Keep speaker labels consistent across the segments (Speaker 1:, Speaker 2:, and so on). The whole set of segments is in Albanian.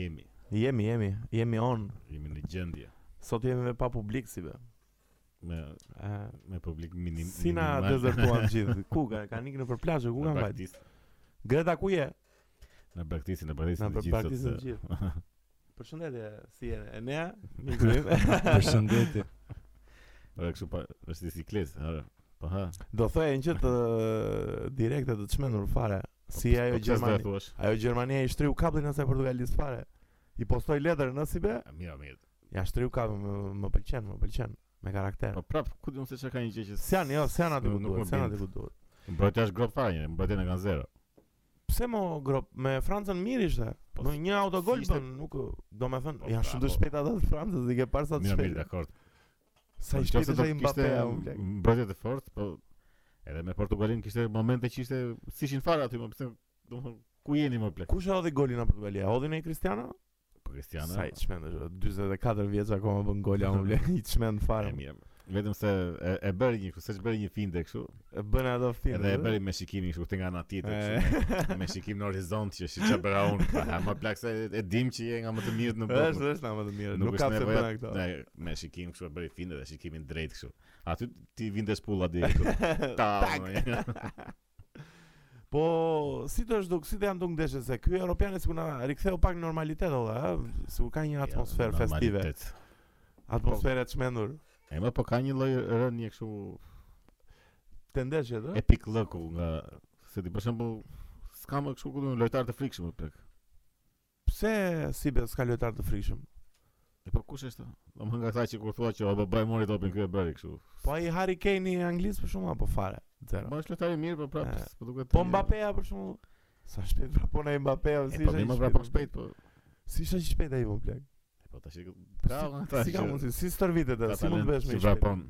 Speaker 1: Jemi, jemi, jemi on.
Speaker 2: Jemi në gjendje
Speaker 1: Sot jemi me pa publik si be.
Speaker 2: me
Speaker 1: Ë,
Speaker 2: me publik minim.
Speaker 1: si na dezertuan gjithë? Ku ka ka nikë nëpër plazhë, ku kanë vajt? Greta ku je?
Speaker 2: Në praktisin, në praktisin
Speaker 1: Na
Speaker 2: të
Speaker 1: për
Speaker 2: gjithë
Speaker 1: praktikën
Speaker 2: sot.
Speaker 1: e gjithë. Përshëndetje, si jeni? E nea, miku im.
Speaker 3: Përshëndetje.
Speaker 2: Ora kështu pa është siklet, ora. Po ha.
Speaker 1: Do thoya një gjë të direkte të çmendur fare.
Speaker 2: Po,
Speaker 1: Si ajo
Speaker 2: Gjermani.
Speaker 1: Gjermania. Ajo Gjermania i shtriu kapllin asaj Portugalis fare. I postoi letër në si be?
Speaker 2: Mira, mirë.
Speaker 1: Ja shtriu kapllin, më, më pëlqen, më pëlqen me karakter.
Speaker 2: Po prap, ku do të se çka ka një gjë që
Speaker 1: S'jan, jo, s'jan aty ku
Speaker 2: Nuk më
Speaker 1: duhet, s'jan
Speaker 2: bind.
Speaker 1: aty ku duhet.
Speaker 2: mbrojtja është grop fare, një, mbrojtjen e kanë zero.
Speaker 1: Pse mo grop me Francën mirë ishte.
Speaker 2: Po,
Speaker 1: Po një autogol
Speaker 2: si ishte-
Speaker 1: bën, nuk do me thënë,
Speaker 2: Po,
Speaker 1: janë shumë të
Speaker 2: bravo.
Speaker 1: shpejt ata të Francës, i ke parë sa të
Speaker 2: Mira, mirë,
Speaker 1: shpejt.
Speaker 2: dakord.
Speaker 1: Sa
Speaker 2: Po, në
Speaker 1: i
Speaker 2: qoftë
Speaker 1: shpejt
Speaker 2: do
Speaker 1: ishte Mbappé,
Speaker 2: kishte
Speaker 1: u blek.
Speaker 2: Mbrojtje të fortë, po edhe me Portugalin kishte momente që ishte si ishin fare aty, më pse domthon ku jeni më plek.
Speaker 1: Kush e hodhi golin në Portugali? E hodhi në Cristiano?
Speaker 2: Po Cristiano.
Speaker 1: Sa i çmend është, 44 vjeç akoma bën gol ja më blek, i çmend
Speaker 2: e
Speaker 1: fare.
Speaker 2: mirë. Vetëm se e, e bëri një, se bëri një finte kështu,
Speaker 1: E bën ato finë.
Speaker 2: Edhe e bëri me shikimin kështu te nga ana tjetër kështu. me- Me shikim në horizont që shi çfarë bëra unë. Ha, më plak se e- e dim që je nga më të mirët në botë.
Speaker 1: Është, është na më të mirë. Nuk
Speaker 2: është
Speaker 1: ka pse
Speaker 2: nevoja-
Speaker 1: bëna këto.
Speaker 2: Ne me shikim kështu e bëri finde dhe shikimin drejt kështu. Aty ti vinte spulla deri kështu. Ta.
Speaker 1: Tak.
Speaker 2: më-
Speaker 1: Po, si të është duk, si të janë duk ndeshje se ky europianë sikur na riktheu pak në normalitet olla, ë, sikur ka një atmosferë
Speaker 2: Ja,
Speaker 1: festive,
Speaker 2: normalitet.
Speaker 1: atmosferë e çmendur.
Speaker 2: E më po ka një lloj rënje kështu
Speaker 1: Te ndeshjet, ë?
Speaker 2: epic lëku nga se ti për shembull s'ka më kështu ku do lojtar të frikshëm më plak.
Speaker 1: Pse si be s'ka lojtar të frikshëm?
Speaker 2: E po kush është? Domthon nga ata që kur thua që o bë- bëj mori topin ky e bëri kështu.
Speaker 1: Po ai Harry Kane i Anglisë për shkakun apo fare? Zero.
Speaker 2: Ma është lojtar i mirë, po
Speaker 1: E.
Speaker 2: prap, po duket.
Speaker 1: Pra. Po Mbappé ja, për shkakun sa shpejt pra, vrapon ai Mbappé o,
Speaker 2: E
Speaker 1: si
Speaker 2: po
Speaker 1: ishte
Speaker 2: më
Speaker 1: i
Speaker 2: vra pak shpejt, po.
Speaker 1: Si ishte i shpejt ai von plak.
Speaker 2: Po tash bravo ata.
Speaker 1: Si ka mundsi, si stërvitet atë, si mund të bësh me i shpejt.
Speaker 2: vrapon.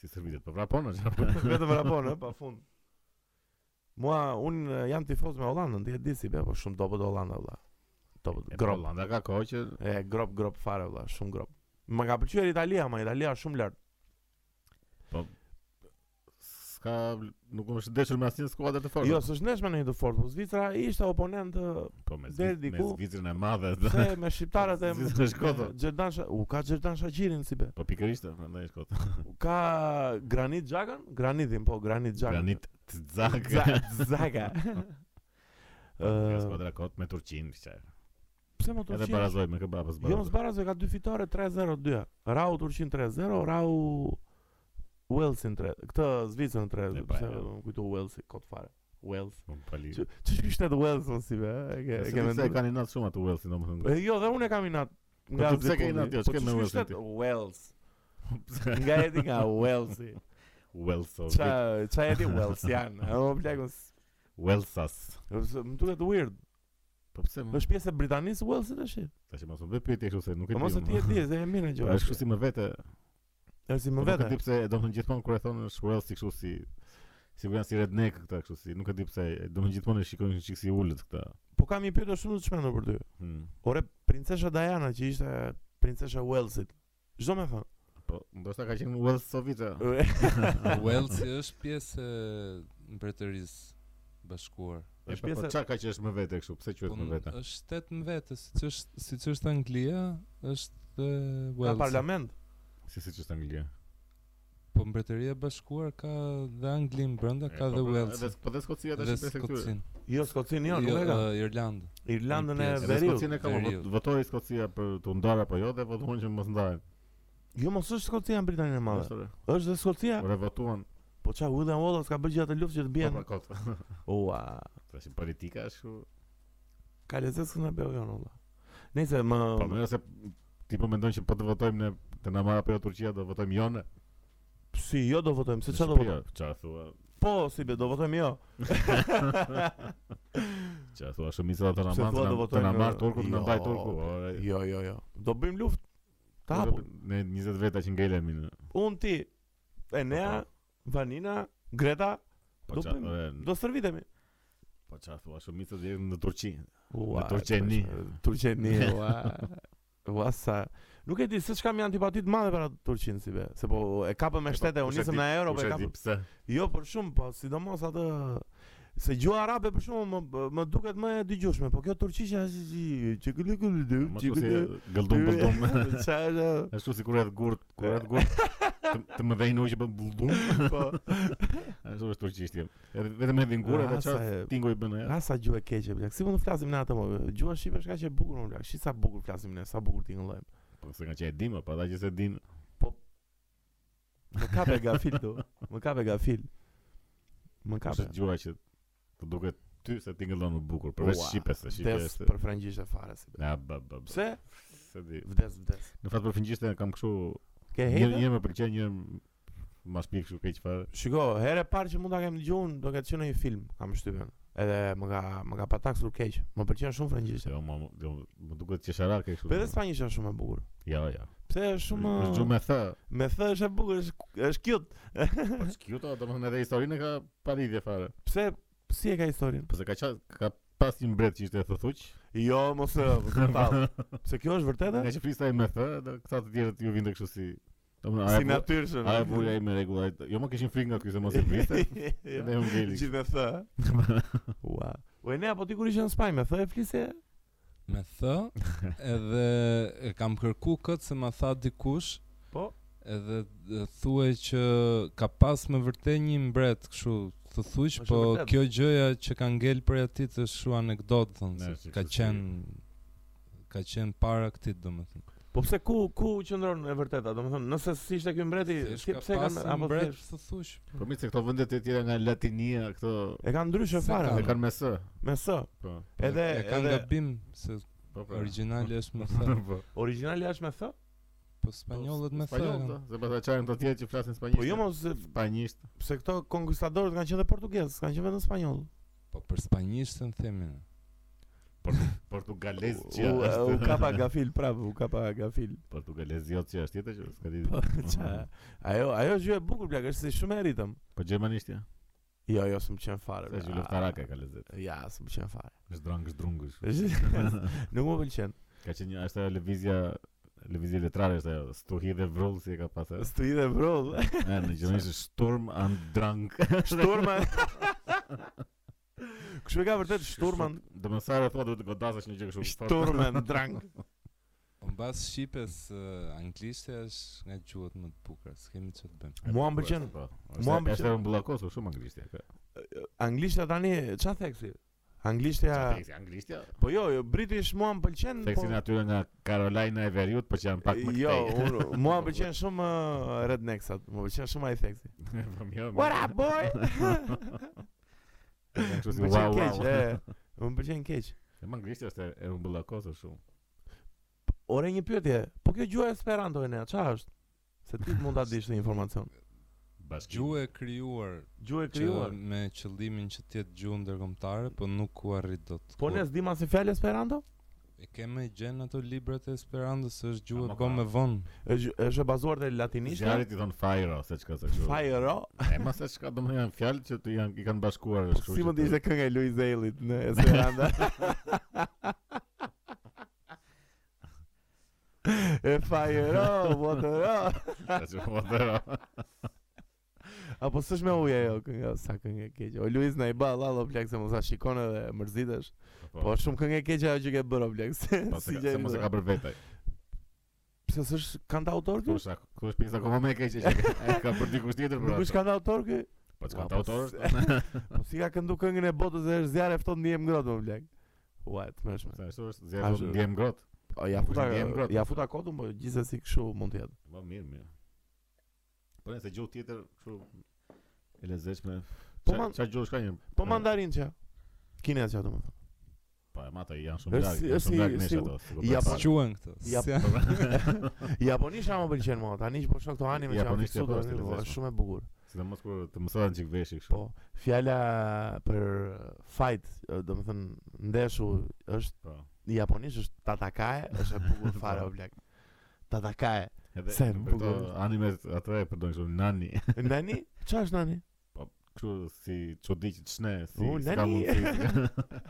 Speaker 2: Si servitet, po vrapon është.
Speaker 1: Vetëm vrapon ë pafund. Mua un eh, jam tifoz me Hollandën, ti e di si be, po shumë dobët Hollanda vëlla. Dobët grop.
Speaker 2: Hollanda ka kohë që
Speaker 1: E grop grop fare vëlla, shumë grop. Më ka pëlqyer Italia, ma Italia është shumë lart.
Speaker 2: s'ka nuk është deshur me asnjë skuadër të fortë.
Speaker 1: Jo, s'është neshme në një të fortë, po Zvicra ishte oponent ë,
Speaker 2: po me Zvi-
Speaker 1: deri
Speaker 2: me
Speaker 1: diku.
Speaker 2: Zvicrën e madhe.
Speaker 1: pse me shqiptarët e
Speaker 2: Zvicra është koto.
Speaker 1: Xherdan Sha- u ka Xherdan Shaqirin si be.
Speaker 2: Po pikërisht, prandaj është kot.
Speaker 1: Ka Granit Xhakan? Granitin, po, Granit Xhakan.
Speaker 2: Granit Zak.
Speaker 1: Za- Zaka.
Speaker 2: Ka
Speaker 1: Ë,
Speaker 2: skuadra kot me Turqinë, çaj.
Speaker 1: pse më
Speaker 2: Edhe
Speaker 1: Turqia?
Speaker 2: barazoi me kebab as
Speaker 1: Jo, mos barazoj ka dy fitore 3-0 2. Rau Turqin 3-0, Rau Walesin 3. Këtë Zvicrën 3.
Speaker 2: E, pa,
Speaker 1: Pse
Speaker 2: e.
Speaker 1: më kujtu Walesi kot fare. Wales.
Speaker 2: Po, Pali.
Speaker 1: Që ç'është shtet Wales mos si be? e ke- E ke
Speaker 2: Se
Speaker 1: menduar?
Speaker 2: kanë inat shumë atë Wellsin domethënë.
Speaker 1: E, Jo, dhe unë e kam inat.
Speaker 2: ti pse ke
Speaker 1: Zipulli.
Speaker 2: inat, jo,
Speaker 1: Po,
Speaker 2: s'ke me
Speaker 1: ç'është
Speaker 2: Walesin
Speaker 1: shtet
Speaker 2: ti?
Speaker 1: Wales. Nga jeti nga Walesi.
Speaker 2: Welsos.
Speaker 1: Ça ça jeti Walesian. O plagos.
Speaker 2: Welsas.
Speaker 1: Më duket weird.
Speaker 2: Po pse më?
Speaker 1: Është pjesë e Britanisë Walesi tash.
Speaker 2: Tash mos më bëj pyetje kështu se nuk e di.
Speaker 1: Po mos e
Speaker 2: unë.
Speaker 1: ti e di, se e mirë gjë.
Speaker 2: Po, Është kështu si më vete.
Speaker 1: Është si
Speaker 2: po
Speaker 1: më
Speaker 2: Nuk
Speaker 1: vete.
Speaker 2: e di pse, domethënë gjithmonë kur e thonë është Wells si kështu si sigurisht si redneck këta kështu si, nuk e di pse, domethënë gjithmonë e shikojnë një çik si ulët këta.
Speaker 1: Po kam një pyetje shumë të çmendur për ty.
Speaker 2: Hmm.
Speaker 1: Ore, princesha Diana që ishte princesha Walesit. Çdo më thon.
Speaker 2: Po, ndoshta ka qenë Wells Sovita.
Speaker 3: Wales është pjesë e mbretërisë bashkuar.
Speaker 1: është
Speaker 2: Është pjesa.
Speaker 1: pjesa-
Speaker 2: Po çka ka që është më vete kështu? Pse
Speaker 3: Po
Speaker 2: quhet më
Speaker 3: n-
Speaker 2: vete?
Speaker 3: është shtet në vetë, siç është siç është Anglia, është e,
Speaker 1: Ka
Speaker 3: Wales.
Speaker 1: parlament.
Speaker 2: Si siç është Anglia.
Speaker 3: Po mbretëria e bashkuar ka dhe Anglinë brenda,
Speaker 2: E,
Speaker 3: ka
Speaker 2: po,
Speaker 3: dhe
Speaker 2: po,
Speaker 3: Wales.
Speaker 2: Edhe po dhe Skocia
Speaker 3: Dhe
Speaker 2: tash pjesë këtyre.
Speaker 3: Skocinë.
Speaker 1: Jo, Skocinë jo,
Speaker 3: Jo,
Speaker 1: nuk e ka.
Speaker 3: e, Irlandë.
Speaker 2: eh,
Speaker 1: Irlandën e
Speaker 3: pjesë.
Speaker 2: Edhe
Speaker 1: Veriut.
Speaker 2: Skocinë e ka
Speaker 3: Veriut.
Speaker 2: vot- votoi Skocia për të ndarë apo jo dhe votuan që mos ndahen.
Speaker 1: Jo, mos është Skocia në Britaninë e Madhe.
Speaker 2: Është ore.
Speaker 1: Është dhe Skocia.
Speaker 2: Ore votuan.
Speaker 1: Po çka William Wallace ka bërë gjatë luftës që të bien.
Speaker 2: Po, po, kot.
Speaker 1: Ua.
Speaker 2: Tash politika është kështu.
Speaker 1: Ka lezeskën në Beojon olla. Nëse më
Speaker 2: Po më se ti po mendon që po të votojmë ne të na marrë apo jo Turqia do votojmë jo ne.
Speaker 1: si jo do votojmë, se
Speaker 2: Në
Speaker 1: çfarë do
Speaker 2: Shqipëri,
Speaker 1: votojmë?
Speaker 2: Çfarë thua?
Speaker 1: Po, si be do votojmë jo.
Speaker 2: Çfarë thua shumica ata na
Speaker 1: Pse thua do
Speaker 2: marrin? Të na
Speaker 1: votojnë,
Speaker 2: marr turkut, na
Speaker 1: jo,
Speaker 2: mbaj turku. ore.
Speaker 1: Jo, jo, jo. Do bëjmë luftë. Ta hapun.
Speaker 2: Ne 20 veta që ngelemi në.
Speaker 1: Unë ti, Enea, Vanina, Greta,
Speaker 2: Po
Speaker 1: Do
Speaker 2: çfarë?
Speaker 1: bëjmë.
Speaker 2: ore,
Speaker 1: do stërvitemi.
Speaker 2: Po çfarë thua shumica do jenë në Turqi.
Speaker 1: Ua,
Speaker 2: Në Turqeni.
Speaker 1: tash, Turqeni, ua. Ua sa. Nuk e di se çka më antipatit madhe për atë Turqin si be, se po e kapëm me
Speaker 2: E po,
Speaker 1: shtete,
Speaker 2: kush
Speaker 1: unë
Speaker 2: e
Speaker 1: nisëm
Speaker 2: di-
Speaker 1: në Euro,
Speaker 2: Kush
Speaker 1: po
Speaker 2: e
Speaker 1: e
Speaker 2: di
Speaker 1: kapëm.
Speaker 2: pse?
Speaker 1: Jo, por shumë, po sidomos atë Se gjuha arabe për shkakun më më duket më e dëgjueshme, po kjo turqisha është si çikëlë këlë
Speaker 2: Më thua se
Speaker 1: çikëlë.
Speaker 2: gëldum bëldum.
Speaker 1: Çfarë?
Speaker 2: Ashtu si kur e gurt, kur e gurt. Të, të më dhënë që bën bullbum.
Speaker 1: Po.
Speaker 2: Ashtu është turqishtja. Edhe vetëm hedhin gurë edhe
Speaker 1: Ah, sa
Speaker 2: çfarë
Speaker 1: e-
Speaker 2: tingo i bën ajo.
Speaker 1: Nga sa gjuhë e keqe, plak. Si mund të flasim ne atë më? Gjuha shqipe është kaq e bukur, më plak. Shi sa bukur flasim ne, sa bukur tingëllojmë.
Speaker 2: Po se ka që e dim, po ata që se din.
Speaker 1: Më kape gafil tu. Më kape gafil. Më
Speaker 2: Është
Speaker 1: kape.
Speaker 2: gjua që të duket ty se tingëllon u bukur, përveç
Speaker 1: Ua,
Speaker 2: shipes, se
Speaker 1: Vdes
Speaker 2: shipes.
Speaker 1: për frangjisht e fare si.
Speaker 2: Na ba ba. ba.
Speaker 1: Pse?
Speaker 2: Se di.
Speaker 1: Vdes, vdes.
Speaker 2: Në fakt për fingjishtë kam kështu
Speaker 1: Ke
Speaker 2: një
Speaker 1: hejtë?
Speaker 2: një më pëlqen një më shpik kështu keq fare.
Speaker 1: Shiko, herë e parë që mund ta kem dëgjuar, do ketë qenë në një film, kam shtypën. Edhe më ka më ka pataksur keq. Më pëlqen shumë
Speaker 2: Se
Speaker 1: frangjisht.
Speaker 2: jo, më jo, më duket qesharake kështu.
Speaker 1: Po edhe spanjisht është shumë e bukur.
Speaker 2: Ja, ja.
Speaker 1: Pse është shumë uh,
Speaker 2: Është gjumë e thë.
Speaker 1: me thë është e bukur, është është cute.
Speaker 2: Po çkiuta, domethënë edhe historinë ka parivje fare.
Speaker 1: Pse si e ka historinë?
Speaker 2: Po se ka qa, ka pas një mbret që ishte e thothuq.
Speaker 1: Jo, mos e, mos e thall. Se kjo është vërtetë?
Speaker 2: Nga që prista i me thë, dhe këta të tjerët ju vinte kështu si... Domethënë, a e
Speaker 1: Si
Speaker 2: bu-
Speaker 1: natyrshëm.
Speaker 2: A e burja i me regullajt. Jo më kishin frikë nga ky se mos e priste. Dhe
Speaker 1: Gjithë
Speaker 2: u ngeli.
Speaker 1: me thë. Ua. Ua, ne apo ti kur ishe në Spanjë me thë e flisje?
Speaker 3: me thë, edhe e kam kërku këtë se ma tha dikush,
Speaker 1: Po.
Speaker 3: edhe e, thuaj që ka pas me vërtet një mbret kështu të thush,
Speaker 1: Është
Speaker 3: po
Speaker 1: vërtet.
Speaker 3: kjo gjëja që ka ngel për atit është kështu anekdotë
Speaker 2: Ne,
Speaker 3: thonë, se
Speaker 2: që
Speaker 3: ka
Speaker 2: kështu si-
Speaker 3: qenë ka qenë para këtit domethënë.
Speaker 1: Po pse ku ku qëndron e vërteta? Domethënë, nëse s'ishte ky mbreti, si pse kanë apo
Speaker 3: mbret
Speaker 1: thjesht-
Speaker 3: të thush?
Speaker 2: Po mirë se këto vendet e tjera nga Latinia, këto
Speaker 1: e kanë ndryshe
Speaker 3: Se
Speaker 1: fare
Speaker 2: e
Speaker 3: kanë.
Speaker 1: me-
Speaker 2: kanë me s.
Speaker 1: me s.
Speaker 2: Po.
Speaker 1: Edhe
Speaker 3: e ka
Speaker 1: edhe
Speaker 3: gabim se
Speaker 2: Po po.
Speaker 3: origjinali është me thë,
Speaker 2: Po.
Speaker 1: origjinali është me thë?
Speaker 3: po spanjollët me thë.
Speaker 2: Spanjollët,
Speaker 3: janë.
Speaker 2: se pas ta çajnë të tjerë që flasin spanjisht.
Speaker 1: Po jo mos e-
Speaker 2: spanjisht.
Speaker 1: pse këto konkistadorët kanë qenë dhe portugezë, kanë qenë vetëm spanjoll.
Speaker 3: Po për spanjishtën themin.
Speaker 2: Portugalez që
Speaker 1: U- U u
Speaker 2: është.
Speaker 1: kapa gafil prap, u kapa gafil.
Speaker 2: Portugalez jo që është tjetër që s'ka di.
Speaker 1: Po, qa- Ajo ajo gjë e bukur plak, është si shumë e ritëm.
Speaker 2: Po gjermanisht ja.
Speaker 1: Jo, jo, s'm qen fare.
Speaker 2: Sa
Speaker 1: bla.
Speaker 2: gjulë taraka ka lezet.
Speaker 1: Ja, s'm qen fare.
Speaker 2: Zhdrangësh drungësh.
Speaker 1: Nuk më pëlqen.
Speaker 2: Ka qenë një- është ajo lëvizja lëvizje letrare është ajo stuhi dhe vrull si e ka pasur.
Speaker 1: Stui dhe vrol.
Speaker 2: E, në gjermanisht është Sturm and Drang.
Speaker 1: Shturma. Kështu e ka vërtet shturman,
Speaker 2: Domosarë thua duhet të godasësh një gjë kështu.
Speaker 1: shturman drang.
Speaker 3: po Mbas shipes uh, anglishtja është nga gjuhët më të bukura, s'kemi çfarë të bëjmë.
Speaker 1: Mua m'pëlqen. Mua
Speaker 2: Mua
Speaker 1: m'pëlqen.
Speaker 2: po, Është e mbullakosur shumë anglishtja. ka.
Speaker 1: Anglishtja tani ç'a theksi? Anglishtja
Speaker 2: Theksi anglishtja.
Speaker 1: Po jo, jo, british mua më pëlqen, po
Speaker 2: Theksi natyrë nga Carolina e Veriut, po që janë pak më këtej.
Speaker 1: Jo, unë mua më pëlqen shumë uh, rednecksat, më pëlqen shumë ai theksi.
Speaker 2: Po mirë.
Speaker 1: What up boy?
Speaker 2: Janë kështu si
Speaker 1: Më
Speaker 2: wow
Speaker 1: pëlqen
Speaker 2: wow.
Speaker 1: keq, e. Më pëlqen keq.
Speaker 2: E më anglishtja është e- e mbullakosur shumë.
Speaker 1: Ore një pyetje, po kjo gjuhë Esperanto e ne, ç'a është? Se ti mund ta dish në informacion.
Speaker 2: Bashkim.
Speaker 3: Gjuhë e krijuar
Speaker 1: Gjuhë e
Speaker 3: që
Speaker 1: krijuar.
Speaker 3: me qëllimin që të jetë gjuhë ndërkombëtare, po nuk u arrit dot.
Speaker 1: Po
Speaker 3: Kur-
Speaker 1: ne s'dim as fjalë Esperanto?
Speaker 3: e kemë gjen ato librat e Esperantos, se është gjuhë
Speaker 2: Ama
Speaker 3: e bë
Speaker 2: ka-
Speaker 3: me vonë.
Speaker 1: Është është e bazuar te latinishtja?
Speaker 2: Zjarit i thon fire ose çka se kështu.
Speaker 1: Fajro.
Speaker 2: E ma se çka do më janë fjalë që të janë i kanë bashkuar
Speaker 1: Po si mund të ishte kënga e Luiz Ellit në Esperanto? E fajro, botëro
Speaker 2: Po,
Speaker 1: Apo s'është me uja jo kënga, sa këngë e keqe O Luiz na i ba, lalo plak se mos a shikon edhe mërzitesh Po shumë këngë e keqe ajo që ke bërë o plak Se,
Speaker 2: si
Speaker 1: si
Speaker 2: po, se
Speaker 1: gjeni
Speaker 2: mos e ka bër vetaj.
Speaker 1: Pse s'është kanta autor
Speaker 2: Ku
Speaker 1: kjo?
Speaker 2: është ku është pjesa akoma më e keqe që ka- e ka për dikush tjetër për.
Speaker 1: Nuk
Speaker 2: atë.
Speaker 1: është kanta autor kjo?
Speaker 2: Po çka
Speaker 1: Ua,
Speaker 2: ta
Speaker 1: po
Speaker 2: autor.
Speaker 1: se- Po si ka këndu këngën e botës dhe është zjarë e fëton një e mgrotë o plak Ua, e të mërshme
Speaker 2: Sa është është
Speaker 1: A,
Speaker 2: zjarit
Speaker 1: është-
Speaker 2: ndjem grot.
Speaker 1: O, ja
Speaker 2: Nuk
Speaker 1: futa,
Speaker 2: është ndjem grot.
Speaker 1: ja futa kodun, po gjithsesi kështu mund të jetë.
Speaker 2: Po mirë, mirë. Po nëse gjuhë tjetër kështu e lezeshme.
Speaker 1: Po
Speaker 2: Qa-
Speaker 1: man-
Speaker 2: qa gjuhë shka një?
Speaker 1: Po mandarin që. Kinez që domethënë.
Speaker 2: Po e mata janë shumë
Speaker 1: Është
Speaker 2: larg.
Speaker 1: si-
Speaker 2: janë
Speaker 1: është
Speaker 2: Shumë
Speaker 1: si-
Speaker 2: larg nesh
Speaker 1: si-
Speaker 2: ato. s'u
Speaker 1: Ja, po-
Speaker 2: kuptoj.
Speaker 3: Quhen këto.
Speaker 1: Ja,
Speaker 3: s'ja-
Speaker 1: Japonisha më pëlqen mua, tani që po shoh këto anime që janë
Speaker 2: Japonisht
Speaker 1: fiksuar,
Speaker 2: japo është
Speaker 1: tani, po,
Speaker 2: lezetshme.
Speaker 1: është shumë e bukur.
Speaker 2: Sidomos kur të mësohen çik veshje kështu.
Speaker 1: Po, fjala për fight, ë, domethënë ndeshu është
Speaker 2: Po.
Speaker 1: në japonisht është tatakae, është e bukur fare o plak. Tatakae.
Speaker 2: Edhe
Speaker 1: Se,
Speaker 2: për
Speaker 1: bukur.
Speaker 2: këto animet ato e përdojnë kështu nani,
Speaker 1: Nani? Çfarë është nani?
Speaker 2: kështu si çudi që të shne, si
Speaker 1: U,
Speaker 2: s'ka
Speaker 1: nani.
Speaker 2: mundësi.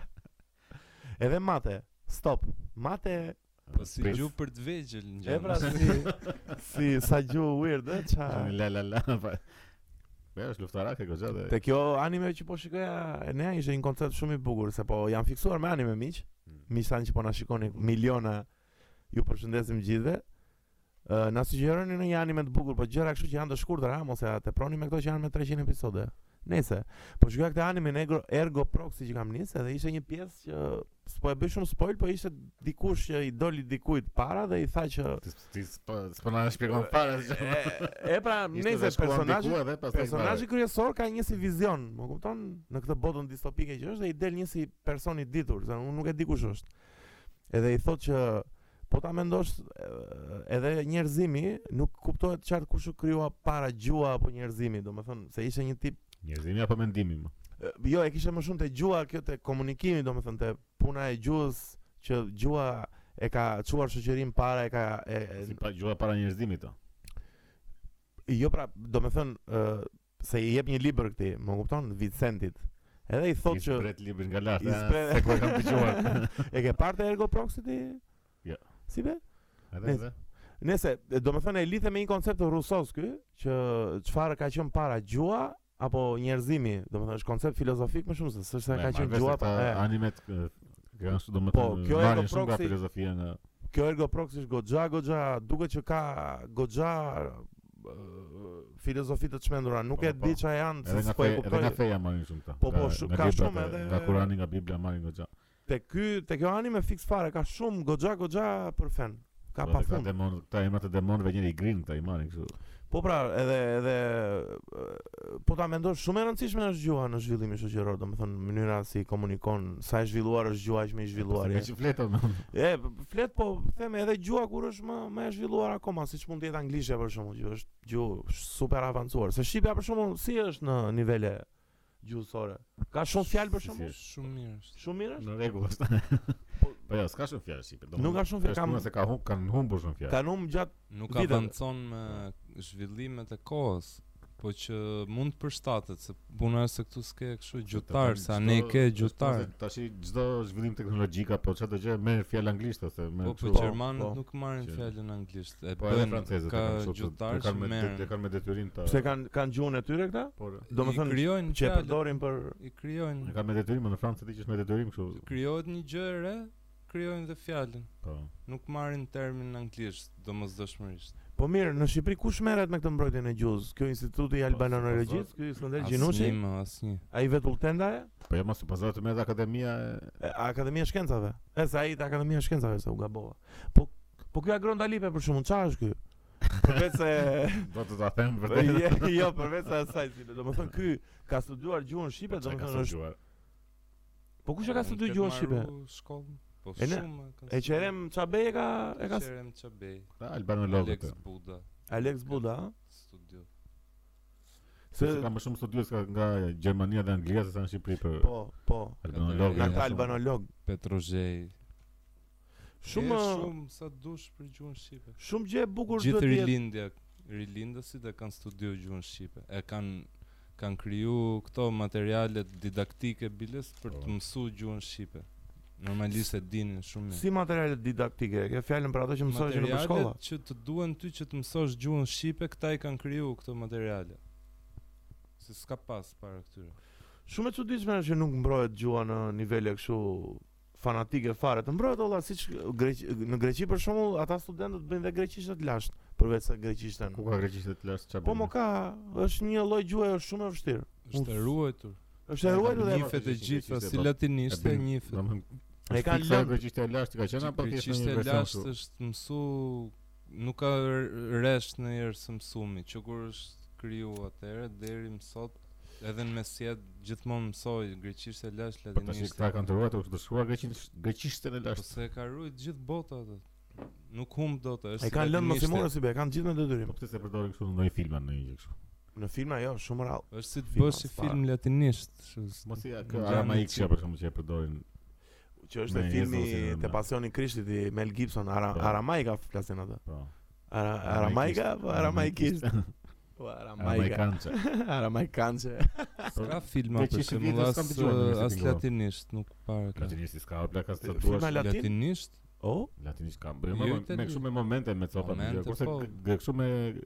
Speaker 1: Edhe mate. Stop. Mate
Speaker 3: Po si
Speaker 2: Pres.
Speaker 3: gjuhë për të vegjël në
Speaker 1: e pra si si sa gjuhë weird, ë,
Speaker 2: Shumë
Speaker 1: ça.
Speaker 2: La la la. pa- Po është luftarak e goxha dhe.
Speaker 1: Te kjo anime që po shikoja e nea ishte një koncept shumë i bukur se po jam fiksuar me anime miq.
Speaker 2: Mm.
Speaker 1: Miq tani që po na shikoni miliona ju përshëndesim gjithëve. Ë na sugjeroni në një anime të bukur, po gjëra kështu që janë të shkurtra, ha, mos e teproni me këto që janë me 300 episode. Nëse, po shkoja këtë anime në Ergo- Ergo Proxy që kam nisë edhe ishte një pjesë që s'po e bëj shumë spoil, po ishte dikush që i doli dikujt para dhe i tha që
Speaker 2: Ti ti s'po s'po na shpjegon fare se çfarë.
Speaker 1: Po, e, e pra
Speaker 2: Ishte
Speaker 1: nëse
Speaker 2: dhe shkuan
Speaker 1: personazhi
Speaker 2: diku edhe pastaj
Speaker 1: Personazhi kryesor ka një si vizion, më kupton, në këtë botën distopike që është dhe i del një si person i ditur, se unë nuk e di kush është. Edhe i thotë që po ta mendosh e, edhe njerëzimi nuk kuptohet qartë kush u krijua para gjua apo njerëzimi, domethënë se ishte një tip
Speaker 2: Njerëzimi apo mendimi më?
Speaker 1: e, jo e kishte më shumë te gjua kjo te komunikimi, domethënë te puna e gjuhës që gjua e ka çuar shoqërinë para e ka e, e,
Speaker 2: Si pa gjua para njerëzimit to.
Speaker 1: Jo pra, do me thënë, ë, se i jep një libër këti, më kupton, Vincentit. Edhe i thotë
Speaker 2: Ishte
Speaker 1: që...
Speaker 2: bret librin nga lart.
Speaker 1: i spre-
Speaker 2: Se ku e kam dëgjuar.
Speaker 1: e ke parë të Ergo Proxy ti?
Speaker 2: Jo.
Speaker 1: Si be?
Speaker 2: Edhe
Speaker 1: Ne-
Speaker 2: edhe.
Speaker 1: Nëse, do me thënë, e lidhe me një koncept të rusos ky, që çfarë ka qenë para gjua, apo njerëzimi, do me thënë, është koncept filozofik më shumë, se
Speaker 2: Ne,
Speaker 1: sërse ka
Speaker 2: marrë
Speaker 1: qenë
Speaker 2: vesh
Speaker 1: gjua,
Speaker 2: këta
Speaker 1: pa, e.
Speaker 2: Animet kë- kë janë shumë
Speaker 1: Po,
Speaker 2: domethënë.
Speaker 1: kjo
Speaker 2: Po,
Speaker 1: Ergo
Speaker 2: shumë nga
Speaker 1: Proxy-
Speaker 2: filozofia nga
Speaker 1: Kjo Ergo Proxy është goxha, goxha, duket që ka goxha ë, filozofi të çmendura. Nuk
Speaker 2: Po,
Speaker 1: e
Speaker 2: po.
Speaker 1: di çfarë janë,
Speaker 2: edhe
Speaker 1: se
Speaker 2: nga
Speaker 1: s'po e
Speaker 2: feja, edhe
Speaker 1: kuptoj.
Speaker 2: nga feja marrin shumë këta.
Speaker 1: Po, po,
Speaker 2: Nga-
Speaker 1: shumë-
Speaker 2: nga
Speaker 1: ka
Speaker 2: librat
Speaker 1: shumë
Speaker 2: e-
Speaker 1: edhe-
Speaker 2: nga Kurani, nga Bibla marrin goxha.
Speaker 1: Te ky, te kjo anime fiks fare ka shumë goxha goxha për fen. Ka
Speaker 2: Po,
Speaker 1: pa
Speaker 2: dhe këta
Speaker 1: fund.
Speaker 2: demon- Këta emrat e demonëve njëri i grin këta i marrin kështu.
Speaker 1: Po pra, edhe edhe e, po ta mendosh shumë e rëndësishme është gjuha në zhvillimin shoqëror, domethënë mënyra si komunikon, sa e zhvilluar është gjuha aq më e zhvilluar.
Speaker 2: po, Me
Speaker 1: je.
Speaker 2: që fletë më.
Speaker 1: E, p- flet po them edhe gjuha kur është më më e zhvilluar akoma, siç mund të jetë anglishtja për shkakun, që është gjuhë super avancuar. Se shqipja për shkakun si është në nivele gjuhësore? Ka shumë fjalë për
Speaker 2: Si, si
Speaker 1: shkakun?
Speaker 3: Shumë mirë është.
Speaker 1: Shumë mirë është?
Speaker 2: Në rregull është.
Speaker 1: Po-
Speaker 2: Po jo, s'ka shumë fjalë shqipe.
Speaker 1: Nuk ka shumë fjalë,
Speaker 2: Është
Speaker 1: kam-
Speaker 2: puna se ka hum, kanë humbur shumë fjalë.
Speaker 1: Kanum gjatë
Speaker 3: Nuk
Speaker 1: Videve.
Speaker 3: avancon me zhvillimet e kohës, po që mund të përshtatet se puna është se këtu s'ke kështu gjutar, sa
Speaker 2: Çdo-
Speaker 3: ne ke
Speaker 2: është
Speaker 3: gjutar.
Speaker 2: puna se Tash i çdo zhvillim teknologjik apo çdo gjë merr fjalë anglisht ose merr
Speaker 3: Po po
Speaker 2: kështu.
Speaker 1: po.
Speaker 3: gjermanët nuk marrin
Speaker 2: Që-
Speaker 3: fjalën anglisht, e
Speaker 2: Po edhe
Speaker 3: bën
Speaker 2: francezët e
Speaker 3: ka
Speaker 2: kanë kështu,
Speaker 3: gjutar
Speaker 2: e
Speaker 3: që
Speaker 2: kanë me det- e
Speaker 3: merren.
Speaker 2: kanë me detyrim ta.
Speaker 1: pse kanë kanë gjuhën e tyre këta?
Speaker 2: Por
Speaker 1: Do më
Speaker 3: I
Speaker 1: thënë
Speaker 3: krijojnë
Speaker 1: që e
Speaker 3: fjalë,
Speaker 1: përdorin për
Speaker 3: i krijojnë.
Speaker 2: e kanë me detyrim në Francë ti që është me detyrim kështu.
Speaker 3: Krijohet një gjë e re, krijojnë dhe fjalën.
Speaker 2: Po.
Speaker 3: Nuk marrin termin anglisht, domosdoshmërisht.
Speaker 1: Po mirë, në Shqipëri kush merret me këtë mbrojtjen e gjuhës? Kjo Instituti i Albanonologjisë,
Speaker 2: Po,
Speaker 1: ky Skënder
Speaker 3: Asnjë,
Speaker 1: Gjinushi,
Speaker 3: më asnjë.
Speaker 1: ai vetulltenda e
Speaker 2: Po jo mos u pazohet me edhe akademia e
Speaker 1: e Akademia e Shkencave. E sa ai te Akademia e Shkencave se u gabova. Po po ky Agron Dalipe për shkakun çfarë është ky? Përveç se
Speaker 2: do të ta them vërtet.
Speaker 1: Je- jo, përveç se asaj si, domethënë ky ka studiuar gjuhën shqipe,
Speaker 2: çka ka
Speaker 1: domethënë është
Speaker 2: studiuar?
Speaker 1: Po kush e ka
Speaker 3: Unë
Speaker 1: studiuar
Speaker 3: këtë
Speaker 1: gjuhën shqipe?
Speaker 3: marru Shkollën. Po
Speaker 1: E ne-
Speaker 3: shumë.
Speaker 1: E Qerem Çabej e ka e ka
Speaker 3: Qerem Çabej,
Speaker 2: Ta albanologët.
Speaker 3: Alex Buda
Speaker 1: Alex Buda, ha?
Speaker 3: studio.
Speaker 1: Se
Speaker 2: Se ka më shumë studiues ka nga Gjermania dhe Anglia se sa në Shqipëri për
Speaker 1: po, po.
Speaker 2: albanologë.
Speaker 1: Nga
Speaker 3: Ja,
Speaker 1: këta
Speaker 3: shumë.
Speaker 1: albanolog.
Speaker 3: Petrozhej.
Speaker 1: Shumë
Speaker 3: E, shumë sa dush për gjuhën shqipe.
Speaker 1: shumë gjë e bukur
Speaker 3: Gjithë
Speaker 1: duhet të jetë.
Speaker 3: rilindja, rilindësit e kanë studiu gjuhën shqipe. E kanë kanë kriju këto materialet didaktike biles për
Speaker 2: Po.
Speaker 3: të mësuar gjuhën shqipe. Normalisht e dinin shumë mirë.
Speaker 1: Si materiale didaktike, ke fjalën për ato që mësojnë në shkolla.
Speaker 3: Materialet që të duhen ty që të mësosh gjuhën shqipe, këta i kanë kriju këto materiale. Se s'ka pas para këtyre.
Speaker 1: Shumë e çuditshme është që nuk mbrohet gjuha në nivele kështu fanatike fare. Të mbrohet olla siç greq në Greqi për shembull, ata studentët bëjnë dhe greqishtën të lashtë, përveç se greqishtën.
Speaker 2: Ku ka greqishtë të lashtë çfarë?
Speaker 1: Po mo ka, është një lloj gjuhe është shumë e vështirë.
Speaker 3: Është e ruajtur.
Speaker 1: Është e ruajtur
Speaker 2: Një
Speaker 1: dhe
Speaker 3: Njifet e gjitha si
Speaker 2: Po.
Speaker 3: latinisht
Speaker 2: E
Speaker 3: e
Speaker 2: bën-
Speaker 3: njifet.
Speaker 2: Domethënë
Speaker 1: e kanë lënë.
Speaker 2: greqishtë e lashtë ka qenë apo thjesht
Speaker 3: Greqisht
Speaker 2: po një
Speaker 3: e
Speaker 2: version kështu?
Speaker 3: lashtë është mësu nuk ka r- resht në herë së mësumi, që kur është kriju atëherë deri më sot edhe në mesjet gjithmonë mësoj greqisht e lashtë
Speaker 2: Po tash
Speaker 3: latinisht.
Speaker 2: këta kanë të ruajtur të shkruar greqisht greqishtën e
Speaker 3: Po
Speaker 2: lashtë.
Speaker 3: se e ka rujt gjithë bota atë. Nuk humb dot, është.
Speaker 1: E
Speaker 3: si
Speaker 1: kanë lënë
Speaker 3: latinishte.
Speaker 1: mosimore si be, e kanë gjithë me
Speaker 2: Po
Speaker 1: detyrim.
Speaker 2: pse se përdorin kështu në ndonjë film apo në një gjë kështu.
Speaker 1: Në filma jo, shumë rrallë.
Speaker 3: Është si të
Speaker 1: Filma,
Speaker 3: bësh një
Speaker 1: s'para.
Speaker 3: film latinisht. kështu s-
Speaker 2: Mos i
Speaker 3: Në
Speaker 2: ka
Speaker 3: gjanë
Speaker 2: aramaikshia
Speaker 3: në
Speaker 2: për shkakun që e përdorin.
Speaker 1: Që është
Speaker 2: Me
Speaker 1: e
Speaker 2: Jezusin,
Speaker 1: filmi
Speaker 2: me-
Speaker 1: te pasioni i Krishtit i Mel Gibson, ara,
Speaker 2: Po.
Speaker 1: Aramaika flasin ata.
Speaker 2: Po.
Speaker 1: Ara,
Speaker 2: Aramaikisht.
Speaker 1: aramaika, apo aramaikisht. Po aramaika.
Speaker 2: Amerikanca.
Speaker 1: Aramaikancë.
Speaker 3: Ka filma për
Speaker 2: greqisht e
Speaker 3: shembull
Speaker 2: vjetër
Speaker 3: as
Speaker 2: s'kam dëgjuar në
Speaker 3: as
Speaker 2: latinisht.
Speaker 3: latinisht nuk para ka.
Speaker 2: Latinisht s'ka opla ka të
Speaker 1: Filma
Speaker 2: duash.
Speaker 1: latin?
Speaker 3: Latinisht
Speaker 1: O,
Speaker 2: Latinisht ka.
Speaker 3: Jo,
Speaker 2: Bëjmë me
Speaker 3: itali-
Speaker 2: kështu me momente me copa.
Speaker 3: Momente,
Speaker 2: Kurse
Speaker 3: po.
Speaker 2: gre- kështu me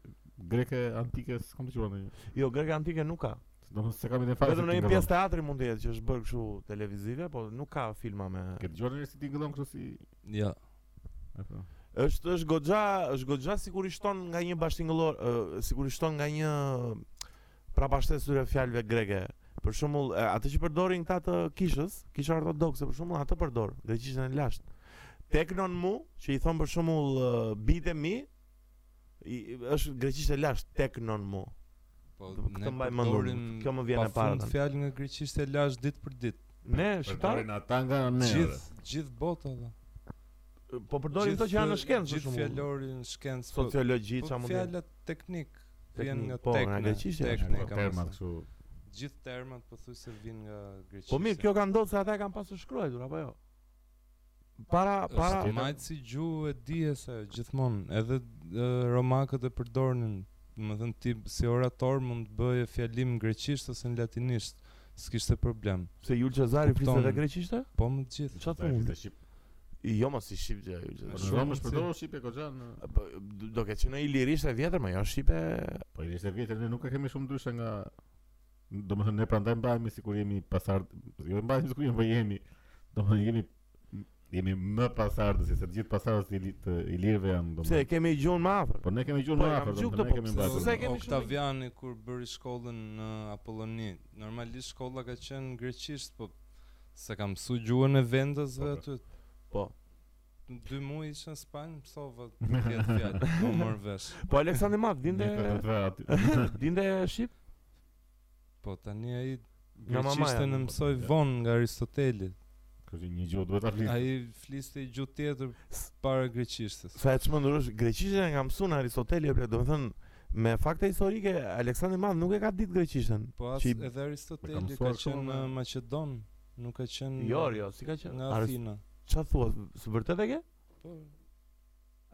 Speaker 2: greke antike s'kam dëgjuar ndonjë.
Speaker 1: Jo, greka antike nuk ka.
Speaker 2: Domethënë se kam ide fare.
Speaker 1: Vetëm në një pjesë teatri mund të jetë që është bërë kështu televizive, po nuk ka filma me.
Speaker 2: Ke dëgjuar ndonjë si ti ngëllon kështu si
Speaker 3: Ja.
Speaker 2: apo.
Speaker 1: Është është goxha, është goxha sikur i shton nga një bashkëngëllor, ë, sikur i shton nga një prapashtesë fjalëve greke. Për shembull, e, atë që përdorin këta të kishës, kisha ortodokse për shembull, atë përdor greqishtën e lashtë. Teknon mu, që i thon për shembull ë, bitë mi, i, është greqisht e lashtë teknon mu.
Speaker 3: Po
Speaker 1: Do- këtë
Speaker 3: ne
Speaker 1: mbaj mendur,
Speaker 3: përdorim
Speaker 1: kjo më vjen e para
Speaker 3: Pafund
Speaker 1: tani.
Speaker 3: fjalë nga greqisht e lash ditë për ditë.
Speaker 1: Ne shqiptar
Speaker 2: Përdorin ata nga ne.
Speaker 3: Gjithë gjithë bota valla.
Speaker 1: po përdorin këto që janë në shkencë për
Speaker 3: Gjithë
Speaker 1: shembull.
Speaker 3: fjalorin shkencë. po-
Speaker 1: Sociologji
Speaker 3: po
Speaker 1: çfarë mund të jetë.
Speaker 3: fjalat teknik vjen
Speaker 1: Teknik,
Speaker 3: nga
Speaker 1: po, nga
Speaker 3: tekne.
Speaker 1: greqishtja është,
Speaker 3: tekne,
Speaker 1: po,
Speaker 3: ka
Speaker 2: termat
Speaker 3: mos-
Speaker 2: kështu.
Speaker 3: Gjithë termat pothuajse vijnë nga greqishtja.
Speaker 1: Po mirë, kjo ka ndodhur se ata e kanë pasur shkruar apo jo? Para para
Speaker 3: Është majtë si gjuhë e dije se gjithmonë edhe e, romakët e përdornin, më thënë ti si orator mund të bëje fjalim në greqisht ose në latinisht, s'kishte problem.
Speaker 1: se Jul Cezari fliste
Speaker 3: Kupton.
Speaker 1: edhe greqishte?
Speaker 3: Po më të gjithë.
Speaker 1: Çfarë
Speaker 2: Ata e
Speaker 1: thonë?
Speaker 2: kishin shqip.
Speaker 1: Jo mos si shqip gjë Jul
Speaker 2: Po në
Speaker 1: Cezari.
Speaker 3: Shumë
Speaker 2: Romë
Speaker 3: si-
Speaker 2: është përdorur shqip e goxha në
Speaker 1: Po, do- Do ke qenë ilirisht e vjetër, më jo shqipe.
Speaker 2: Po i ishte vjetër ne nuk e kemi shumë ndryshe nga domethënë ne prandaj mbajmë sikur jemi pasardh, jo mbajmë sikur jemi, po jemi domethënë jemi jemi më pasardhës se të gjithë pasardhës i li- të ilirëve janë
Speaker 1: Pse
Speaker 2: domethënë.
Speaker 1: e Po, kemi gjuhën më afër?
Speaker 2: Po ne kemi gjuhë
Speaker 1: Po,
Speaker 2: më
Speaker 1: e kam
Speaker 2: afër,
Speaker 1: gjuhë
Speaker 2: domethënë
Speaker 1: këtë,
Speaker 2: ne kemi
Speaker 1: po,
Speaker 2: mbajtur.
Speaker 1: pse e kemi shumë-
Speaker 3: Oktaviani kur bëri shkollën në Apolloni, normalisht shkolla ka qenë greqisht, po se ka mësu gjuhën e vendosve
Speaker 2: Po, po.
Speaker 3: aty.
Speaker 1: Po.
Speaker 3: Në Dy muaj ishte në Spanjë, mësova këtë fjalë, po mor vesh.
Speaker 1: Po Aleksandri Mat
Speaker 2: Ne kemi
Speaker 1: dinte
Speaker 2: të aty.
Speaker 1: dinte shqip?
Speaker 3: Po tani ai
Speaker 1: Nga mamaja.
Speaker 3: greqishtën e mësoj
Speaker 2: po, ja.
Speaker 3: vonë nga Aristoteli.
Speaker 2: Kështu një gjuhë duhet ta flisë.
Speaker 3: Ai fliste i gjuhë tjetër para greqishtës.
Speaker 1: Sa e çmendur është greqishtën e nga mësuar Aristoteli, e ble, domethënë me fakte historike Aleksandri Mat nuk e ka ditë greqishtën.
Speaker 3: Po as
Speaker 1: Që i-
Speaker 3: edhe
Speaker 2: e ka
Speaker 3: Aristoteli
Speaker 2: mësuar
Speaker 3: ka
Speaker 2: shumë
Speaker 3: qenë në
Speaker 2: me-
Speaker 3: Maqedon, nuk ka qenë
Speaker 1: eh, Jo, jo, si ka qenë?
Speaker 3: nga
Speaker 1: Aris-
Speaker 3: Athina.
Speaker 1: Çfarë thua? Së vërtet e ke?
Speaker 3: Po,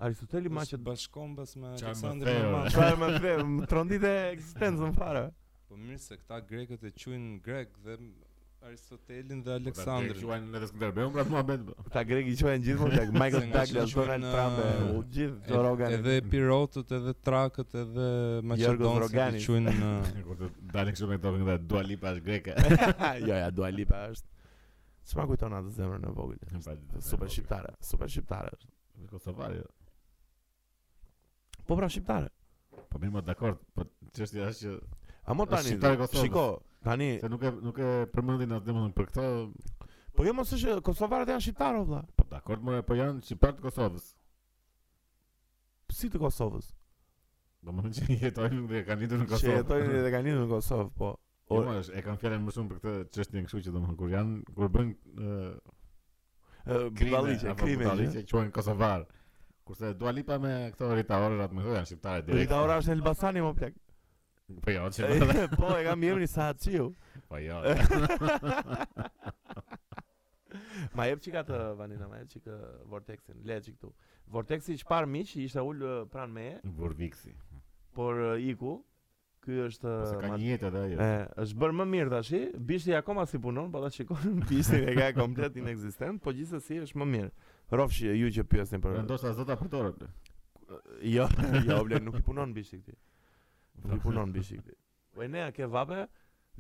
Speaker 1: Aristoteli ma që
Speaker 3: është bashkombas me
Speaker 2: Qa më
Speaker 3: Aleksandrin e
Speaker 2: theu,
Speaker 3: Madh.
Speaker 1: Çfarë më the, më trondite ekzistencën fare.
Speaker 3: Po mirë se këta grekët e quajnë grek dhe Aristotelin dhe
Speaker 2: Po, ta
Speaker 3: Aleksandrin.
Speaker 2: Quajnë edhe Skënderbeun pra të muhabet. po.
Speaker 1: Ta greki quhen gjithmonë tek Michael
Speaker 3: Se nga
Speaker 1: Douglas,
Speaker 3: që
Speaker 1: Donald
Speaker 3: quhen,
Speaker 1: Trump, e,
Speaker 3: uh,
Speaker 1: u gjithë
Speaker 3: E-
Speaker 1: Joe Rogan.
Speaker 3: Edhe pirotët, edhe trakët, edhe maqedonët i
Speaker 1: Roganis.
Speaker 3: quajnë uh,
Speaker 1: Ah.
Speaker 2: Kur të dalin kështu me këto kënda Dua Lipa është greke.
Speaker 1: jo, ja Dua Lipa është. Çma kujton atë zemrën e vogël.
Speaker 2: Pa,
Speaker 1: Super shqiptare, super shqiptare. është.
Speaker 2: Kosovari. jo.
Speaker 1: Po pra shqiptare.
Speaker 2: Po mirë, më dakord, po çështja është që
Speaker 1: A mo
Speaker 2: Është
Speaker 1: tani,
Speaker 2: shqiptare Kosovës.
Speaker 1: shiko, tani,
Speaker 2: se nuk e nuk e përmendin atë domethënë për këto,
Speaker 1: po jo mos është kosovarët janë shqiptarë o vlla.
Speaker 2: po dakord, more, po janë shqiptar të Kosovës.
Speaker 1: Si të Kosovës?
Speaker 2: Domethënë që jetojnë dhe kanë lindur në
Speaker 1: Që
Speaker 2: Kosovë.
Speaker 1: jetojnë dhe kanë lindur në Kosovë, po.
Speaker 2: Jo, mo, është- e kanë fjalën më shumë për këtë çështjen kështu që domethënë kur janë kur bëjnë ë,
Speaker 1: Ë,
Speaker 2: krime,
Speaker 1: Budalliqe,
Speaker 2: apo
Speaker 1: krime.
Speaker 2: budalliqe quhen kosovar. Kurse Dua Lipa me këto ritaorërat më thonë janë shqiptare direkt.
Speaker 1: Rita ora Po, është në Elbasani më plak.
Speaker 2: Po jo, që
Speaker 1: po e kam jemi sa çiu.
Speaker 2: po jo.
Speaker 1: Ma jep çika të Vanina, ma jep çika Vortexin, le çik këtu. Vortexi që parë miq ishte ul eh, pranë meje,
Speaker 2: Burviksi.
Speaker 1: por eh, iku. Ky është
Speaker 2: Po se
Speaker 1: eh,
Speaker 2: ka
Speaker 1: ma-
Speaker 2: një jetë edhe ajo.
Speaker 1: E, është bërë më mirë tashi, bishti akoma si punon, po ta shikon bishtin e ka komplet inekzistent, po gjithsesi është më mirë. Rofshi ju që pyesni për
Speaker 2: Po, Ndoshta zota përdoret.
Speaker 1: Jo, jo, ble, nuk i punon bishti këtij. Nuk i punon bishti këtij. Po e nea ke vape,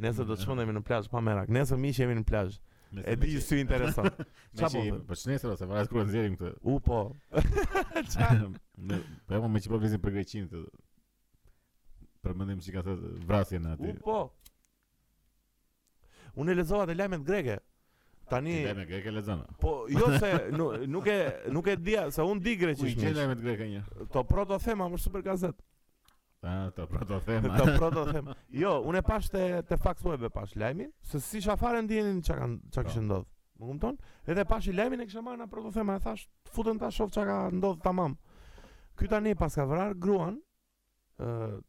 Speaker 1: nesër do të shkondemi në plazh pa merak. Nesër miq jemi në plazh. E di ju si intereson.
Speaker 2: Qa
Speaker 1: Çfarë
Speaker 2: po?
Speaker 1: po?
Speaker 2: Po shnesër ose varet kur e nxjerrim këtë.
Speaker 1: U po.
Speaker 2: Me- Po jam me çfarë vlisim për Greqinë këtë. Përmendim çka thotë vrasjen aty.
Speaker 1: U po. Unë e lexova të lajmet greke. Tani
Speaker 2: Ti lajme greke lexon.
Speaker 1: po jo se nu- nuk e nuk e dia se un di
Speaker 2: Ku i
Speaker 1: greqisht.
Speaker 2: gjen
Speaker 1: miq.
Speaker 2: lajmet greke një?
Speaker 1: To proto thema më super gazet.
Speaker 2: Ah, to pra to thema.
Speaker 1: To proto thema. Jo, unë e pash te te fax web e pash lajmin, se si shafare ndjenin çka kanë çka
Speaker 2: Po.
Speaker 1: kishte ndodh. Më kupton? Edhe pash i lajmin e kisha marrë në proto thema e thash, futën ta shoh çka ka ndodh tamam. Ky tani pas ka vrar gruan, ë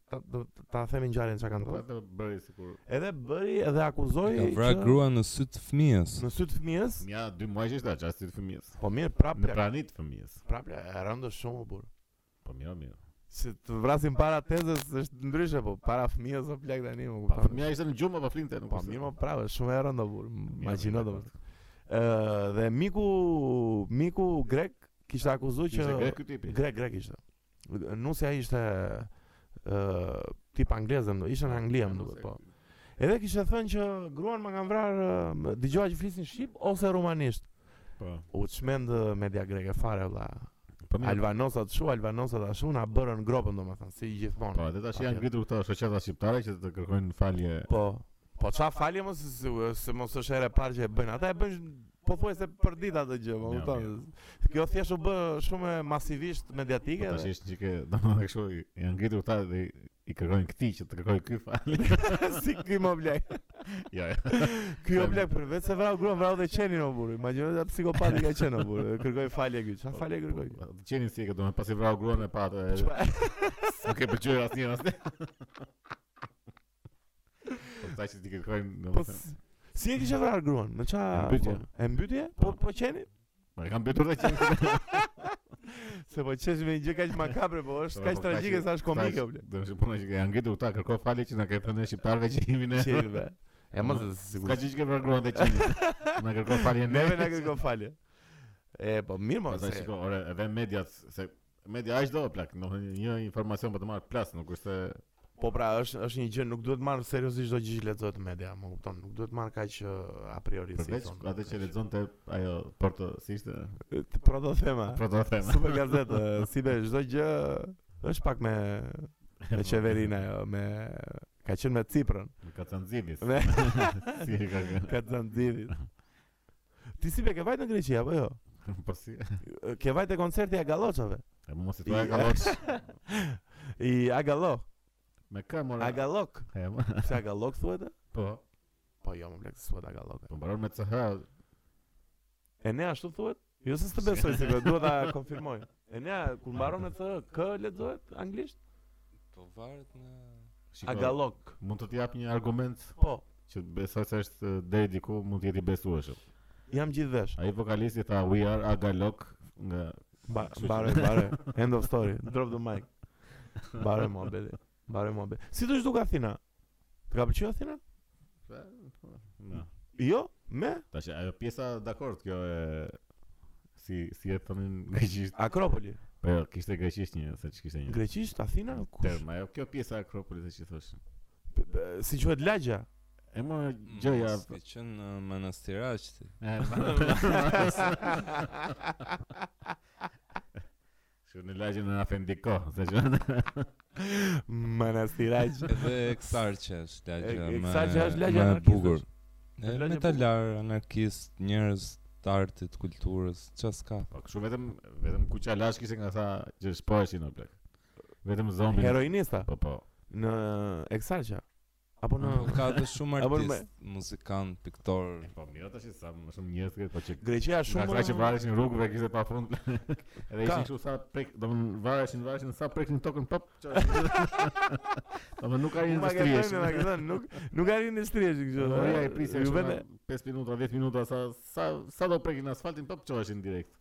Speaker 1: ta do- ta themi ngjarjen çka ka
Speaker 2: Po
Speaker 1: ndodhur.
Speaker 2: të bëri sikur.
Speaker 1: Edhe bëri edhe akuzoi
Speaker 3: ka vra
Speaker 1: që-
Speaker 3: grua në sy të fëmijës.
Speaker 1: në sy të fëmijës.
Speaker 2: Mja 2 muaj që është çasti të fëmijës.
Speaker 1: Po mirë, prap
Speaker 2: Në pra-
Speaker 1: plak,
Speaker 2: pranit të fëmijës.
Speaker 1: prap plak, e rëndë shumë burr.
Speaker 2: Po mirë, mirë.
Speaker 1: Se të vrasim para tezës është ndryshe, po para fëmijës o plak tani, më
Speaker 2: Pa
Speaker 1: kupton.
Speaker 2: fëmia ishte në gjumë apo flinte? Nuk
Speaker 1: Po
Speaker 2: është-
Speaker 1: pra. mirë, më prapë, është shumë e rëndë burr.
Speaker 2: Mirë,
Speaker 1: Imagjino
Speaker 2: mirë,
Speaker 1: domoshta. Ë dhe miku miku grek kishte akuzuar
Speaker 2: Ishte grek
Speaker 1: që
Speaker 2: ky tipi.
Speaker 1: grek grek ishte. Nusja ishte ë tip anglezëm, do- ishte në Angli, më duket, po. Edhe kishte thënë që gruan më kanë vrarë, ë, dëgjoa që flisin shqip ose rumanisht.
Speaker 2: Po.
Speaker 1: U çmend ë, media greke fare valla.
Speaker 2: Po mirë.
Speaker 1: Albanosat shu, albanosat ashtu na bërën gropën domethënë, si gjithmonë.
Speaker 2: Po, edhe tash
Speaker 1: Atje.
Speaker 2: janë ngritur këto shoqata shqiptare që të kërkojnë falje.
Speaker 1: Po. Po ça falje mos se, se mos është herë e parë që e bëjnë. Ata e bëjnë pothuajse për ditë atë gjë, më
Speaker 2: Ja,
Speaker 1: kupton. Kjo thjesht u bë shumë e masivisht mediatike.
Speaker 2: Po tash
Speaker 1: dhe-
Speaker 2: është çike, domethënë kështu janë ngritur këta dhe i kërkojnë këtij që të kërkoj ky falje.
Speaker 1: si ky më blej.
Speaker 2: Jo, jo.
Speaker 1: Ky më blej për vetë se vrau gruan, vrau dhe qenin o burr. Imagjino atë psikopati ka qenë o burr. Kërkoi falje ky. Ça falje kërkoi?
Speaker 2: Po, Të qenin si e këtë, domethënë pasi vrau gruan e pa atë. e-
Speaker 1: Çfarë?
Speaker 2: Nuk e pëlqyer asnjë asnjë. Po tash ti kërkojnë
Speaker 1: Po
Speaker 2: domethënë.
Speaker 1: s- si e kishe vrarë gruan? Në ça?
Speaker 2: E mbytje.
Speaker 1: formë? E mbytje? Po po qeni?
Speaker 2: Ma e kam mbetur dhe qenin.
Speaker 1: Se po qesh me një gjë kaq makabre, po është
Speaker 2: Po,
Speaker 1: kaq
Speaker 2: po,
Speaker 1: tragjike
Speaker 2: kaq-
Speaker 1: sa është komike o blej.
Speaker 2: Domethënë puna që janë ngritur këta kërkoj falje që na kanë thënë ne shqiptarëve që jemi ne.
Speaker 1: Qeni be. Ja mos e sigurt.
Speaker 2: Ka gjë që vrau gruan dhe qenin. Na kërkoj falje ne.
Speaker 1: Neve na kërkon falje. E, po mirë mos.
Speaker 2: Ata shiko, ore, edhe mediat, se media është do plak, do një informacion për të marrë plas, nuk është se
Speaker 1: Po pra, është është një gjë, nuk duhet marr seriozisht çdo gjë që lexohet në media, më kupton? Nuk duhet marr kaq ë, a priori si
Speaker 2: përveç
Speaker 1: thonë.
Speaker 2: atë që lexonte ajo për të si ishte
Speaker 1: Të Pro do thema.
Speaker 2: për të thënë.
Speaker 1: Super gazetë, ë, si be çdo gjë është pak me me qeverinë ajo, me ka qenë me Ciprën,
Speaker 2: Ka Zanzibis.
Speaker 1: me
Speaker 2: Si e ka kë-
Speaker 1: Kazandirit. Ti si be ke vajtë në Greqi apo jo?
Speaker 2: Po si.
Speaker 1: Ke vajtë e koncerti i Agalloçave.
Speaker 2: E mu mos i thua galoç.
Speaker 1: I Agallo,
Speaker 2: Me kë mora?
Speaker 1: Agallok.
Speaker 2: E, mo-
Speaker 1: Pse Agallok thuhet? e?
Speaker 2: Po.
Speaker 1: Po jo, më blek se thuhet Agallok. e.
Speaker 2: Po mbaron me CH.
Speaker 1: E ne ashtu thuhet? Jo se s'të besoj se kjo, duhet ta konfirmoj. E ne kur mbaron me C, K lexohet anglisht?
Speaker 3: Po varet nga
Speaker 2: Shiko,
Speaker 1: Agallok.
Speaker 2: Mund të t'jap një argument
Speaker 1: Po,
Speaker 2: që besoj se është eh, deri diku mund të jetë i besueshëm.
Speaker 1: jam gjithvesh.
Speaker 2: Ai vokalisti tha We are Agalok nga
Speaker 1: Ba-
Speaker 2: Kështu që-
Speaker 1: Bare, bare. End of story. Drop the mic. Bare mohabeti. Bare mohabeti. Si të zhduk Athina? Të ka pëlqyer Athina?
Speaker 2: Na.
Speaker 1: Jo, me
Speaker 2: Tash ajo pjesa dakord kjo e si si e thonin greqisht.
Speaker 1: Akropoli.
Speaker 2: Po jo, kishte greqisht një, se ç'kishte një.
Speaker 1: Greqisht Athina? Kush?
Speaker 2: Term, ajo kjo pjesa e Akropolit që thoshin.
Speaker 1: P- p- Si quhet lagja?
Speaker 2: E më gjoja
Speaker 3: Mos Ke Mm, qenë në manastiraq ti.
Speaker 2: e, Shumë në lagjën e afendiko, se që
Speaker 1: Manastiraq.
Speaker 3: Edhe eksarqe është lagja.
Speaker 1: E-
Speaker 3: më-
Speaker 1: Eksarqe është lagja
Speaker 3: më e
Speaker 1: anarkiste,
Speaker 3: bukur.
Speaker 1: është.
Speaker 3: E,
Speaker 1: Lagja e bukur.
Speaker 3: Metalar, anarkist, njerëz të artit, kulturës, çfarë s'ka.
Speaker 2: Po kështu vetëm vetëm kuqa lash kishte nga tha që shpoheshin o plak. Vetëm zombi.
Speaker 1: Heroinista
Speaker 2: Po po.
Speaker 1: në Eksarqa. Apo në
Speaker 3: Po ka edhe shumë
Speaker 1: Apo në
Speaker 3: artist, muzikant, piktor.
Speaker 2: E, po mirë tash sa më shumë njerëz që po që
Speaker 1: Greqia
Speaker 2: Nga
Speaker 1: shumë
Speaker 2: këta që vareshin rrugëve kishte pa fund. Edhe
Speaker 1: Ka.
Speaker 2: ishin kështu sa prek, domethënë vareshin, vareshin sa prekin tokën pop. Domethënë nuk ka
Speaker 1: Ma
Speaker 2: rinë të
Speaker 1: ke thënë, ma
Speaker 2: strihesh.
Speaker 1: ke thënë, nuk nuk arrin në striesh kështu.
Speaker 2: Moria i prisja
Speaker 1: Ju
Speaker 2: kështu
Speaker 1: vete
Speaker 2: nga 5 minuta, 10 minuta sa sa sa do prekin asfaltin pop çoheshin direkt.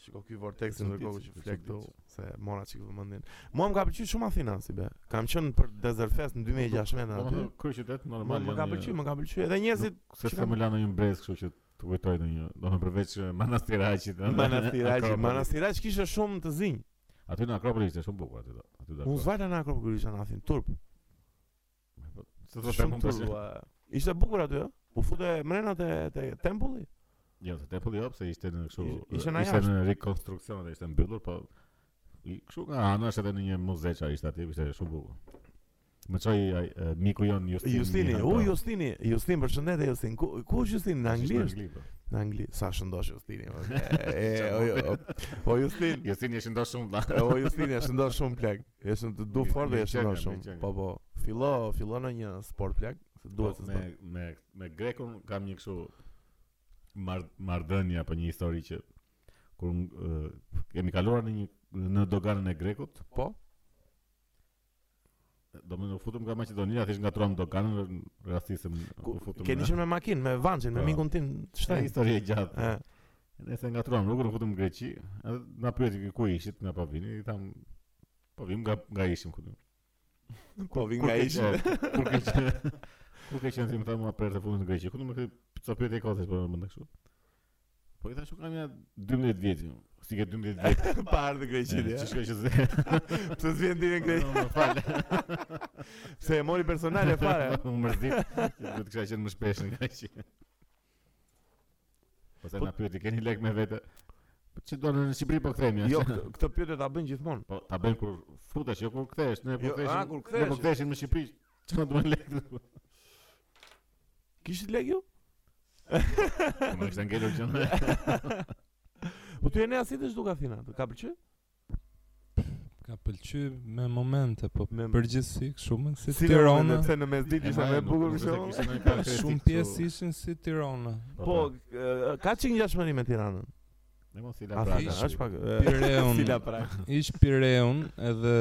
Speaker 1: Shiko ky vorteksi
Speaker 2: Shumë
Speaker 1: ndërkohë
Speaker 2: ditë,
Speaker 1: që
Speaker 2: shumë
Speaker 1: flet këtu
Speaker 2: ditë.
Speaker 1: se mora çik vëmendjen. Mua më ka pëlqyer shumë Athina si be. Kam qenë për Desert Fest në 2016 aty.
Speaker 2: Domethënë krye qytet
Speaker 1: Mua
Speaker 2: normal.
Speaker 1: Më ka
Speaker 2: janë,
Speaker 1: pëlqyer, më ka pëlqyer. Edhe njerëzit
Speaker 2: Se
Speaker 1: që
Speaker 2: s'ka
Speaker 1: kam-
Speaker 2: më lanë një brez kështu që të kujtoj në një Domethënë përveç eh, Manastiraqit ëh,
Speaker 1: Manastiraq,
Speaker 2: Akropoli.
Speaker 1: Manastiraq kishte shumë të zinj.
Speaker 2: Aty në Akropoli ishte shumë bukur aty do Aty do
Speaker 1: Unë zvajta në Akropol isha në Athinë, turp.
Speaker 2: Se të them
Speaker 1: Shumë
Speaker 2: unë
Speaker 1: turp.
Speaker 2: tash-
Speaker 1: ua. Ishte bukur aty, ë. U fute mrena te te tempulli.
Speaker 2: Jo, se tempulli jo, pse ishte në kështu
Speaker 1: Ish- ishte
Speaker 2: ishte
Speaker 1: na
Speaker 2: në,
Speaker 1: jashtë.
Speaker 2: rekonstruksion dhe ishte mbyllur, po i kështu nga anash edhe në një muze që ishte aty, ishte shumë bukur. Më çoi ai, e, miku jon Justini.
Speaker 1: Justini,
Speaker 2: Mihan,
Speaker 1: u
Speaker 2: po.
Speaker 1: Justini, Justin përshëndetje Justin. Ku ku është Justini në
Speaker 2: Ishte
Speaker 1: Angli? është?
Speaker 2: po.
Speaker 1: Në Angli, sa shëndosh Justini. o, e, e, o, jo, o, Po Justin,
Speaker 2: Justini është ndoshta shumë vlla.
Speaker 1: E, O Justini, e shëndon shumë plak. E shëndon të du
Speaker 2: Mi-
Speaker 1: fort dhe e
Speaker 2: mi
Speaker 1: shëndon
Speaker 2: qenga, mi
Speaker 1: shumë.
Speaker 2: qenga.
Speaker 1: Po po. Fillo, fillo në një sport plak, se duhet
Speaker 2: Po,
Speaker 1: të
Speaker 2: me
Speaker 1: zbën.
Speaker 2: me me grekun kam një kështu mar, marrëdhënie apo një histori që kur uh, kemi kaluar në një në doganën e grekut,
Speaker 1: Po,
Speaker 2: do më në futëm nga Maqedonia, thjesht ngatruam doganën, rastisëm
Speaker 1: ku,
Speaker 2: u futëm.
Speaker 1: keni qenë me makinë, me vancin, me
Speaker 2: Po.
Speaker 1: mikun tim,
Speaker 2: Një
Speaker 1: shtaj.
Speaker 2: histori e gjatë.
Speaker 1: E,
Speaker 2: Ne se ngatruam rrugën, u futëm në Greqi, edhe na pyeti ku ishit, na pa vini, i tham po vim nga nga ishim këtu.
Speaker 1: po vi
Speaker 2: Kur
Speaker 1: nga
Speaker 2: ke
Speaker 1: ishin.
Speaker 2: qenë? Kur ke qenë? Kur ke qenë ti më tha mua për të fundit në Greqi. Ku do më këtë çfarë pyetje ka tash po më nda kështu. Po i thash u kam ja 12 vjeç. unë. jo. Si ke 12 vjeç?
Speaker 1: pa ardhë greqit, ja.
Speaker 2: Çish që se.
Speaker 1: Pse s'vjen ditën greqit?
Speaker 2: Më fal.
Speaker 1: Se e mori personale fare.
Speaker 2: U mërzit. Do të kisha qenë më shpesh në kaq. Pastaj
Speaker 1: Po-
Speaker 2: na pyeti keni lek me vete. Po ç'i do në Shqipëri po kthehemi?
Speaker 1: Jo,
Speaker 2: Jo.
Speaker 1: këtë këtë pyetje ta bën gjithmonë.
Speaker 2: Po ta bëjmë kur futesh, jo kur kthehesh, ne po
Speaker 1: Jo, a, kur
Speaker 2: ktheheshim. Ne
Speaker 1: kthehesh.
Speaker 2: po ktheheshim në Shqipëri. Çfarë do të lek?
Speaker 1: Kishit lek ju?
Speaker 2: Po më kishte ngelur gjë.
Speaker 1: Po ty e ne asit është duke Athina, të ka pëlqy?
Speaker 3: Ka pëlqy me momente, po
Speaker 1: Me-
Speaker 3: përgjithësi shumë si,
Speaker 1: Si
Speaker 3: Tirana.
Speaker 1: pse në mesditë ishte më e bukur për shkakun.
Speaker 2: shumë.
Speaker 3: Shumë pjesë ishin si Tirana.
Speaker 1: Po, e, ka çik ngjashmëri me Tiranën.
Speaker 2: Ne mos i la
Speaker 1: Athina
Speaker 2: brada,
Speaker 3: ish-
Speaker 1: është pak e,
Speaker 3: Pireun.
Speaker 1: si la prak.
Speaker 3: Ish Pireun edhe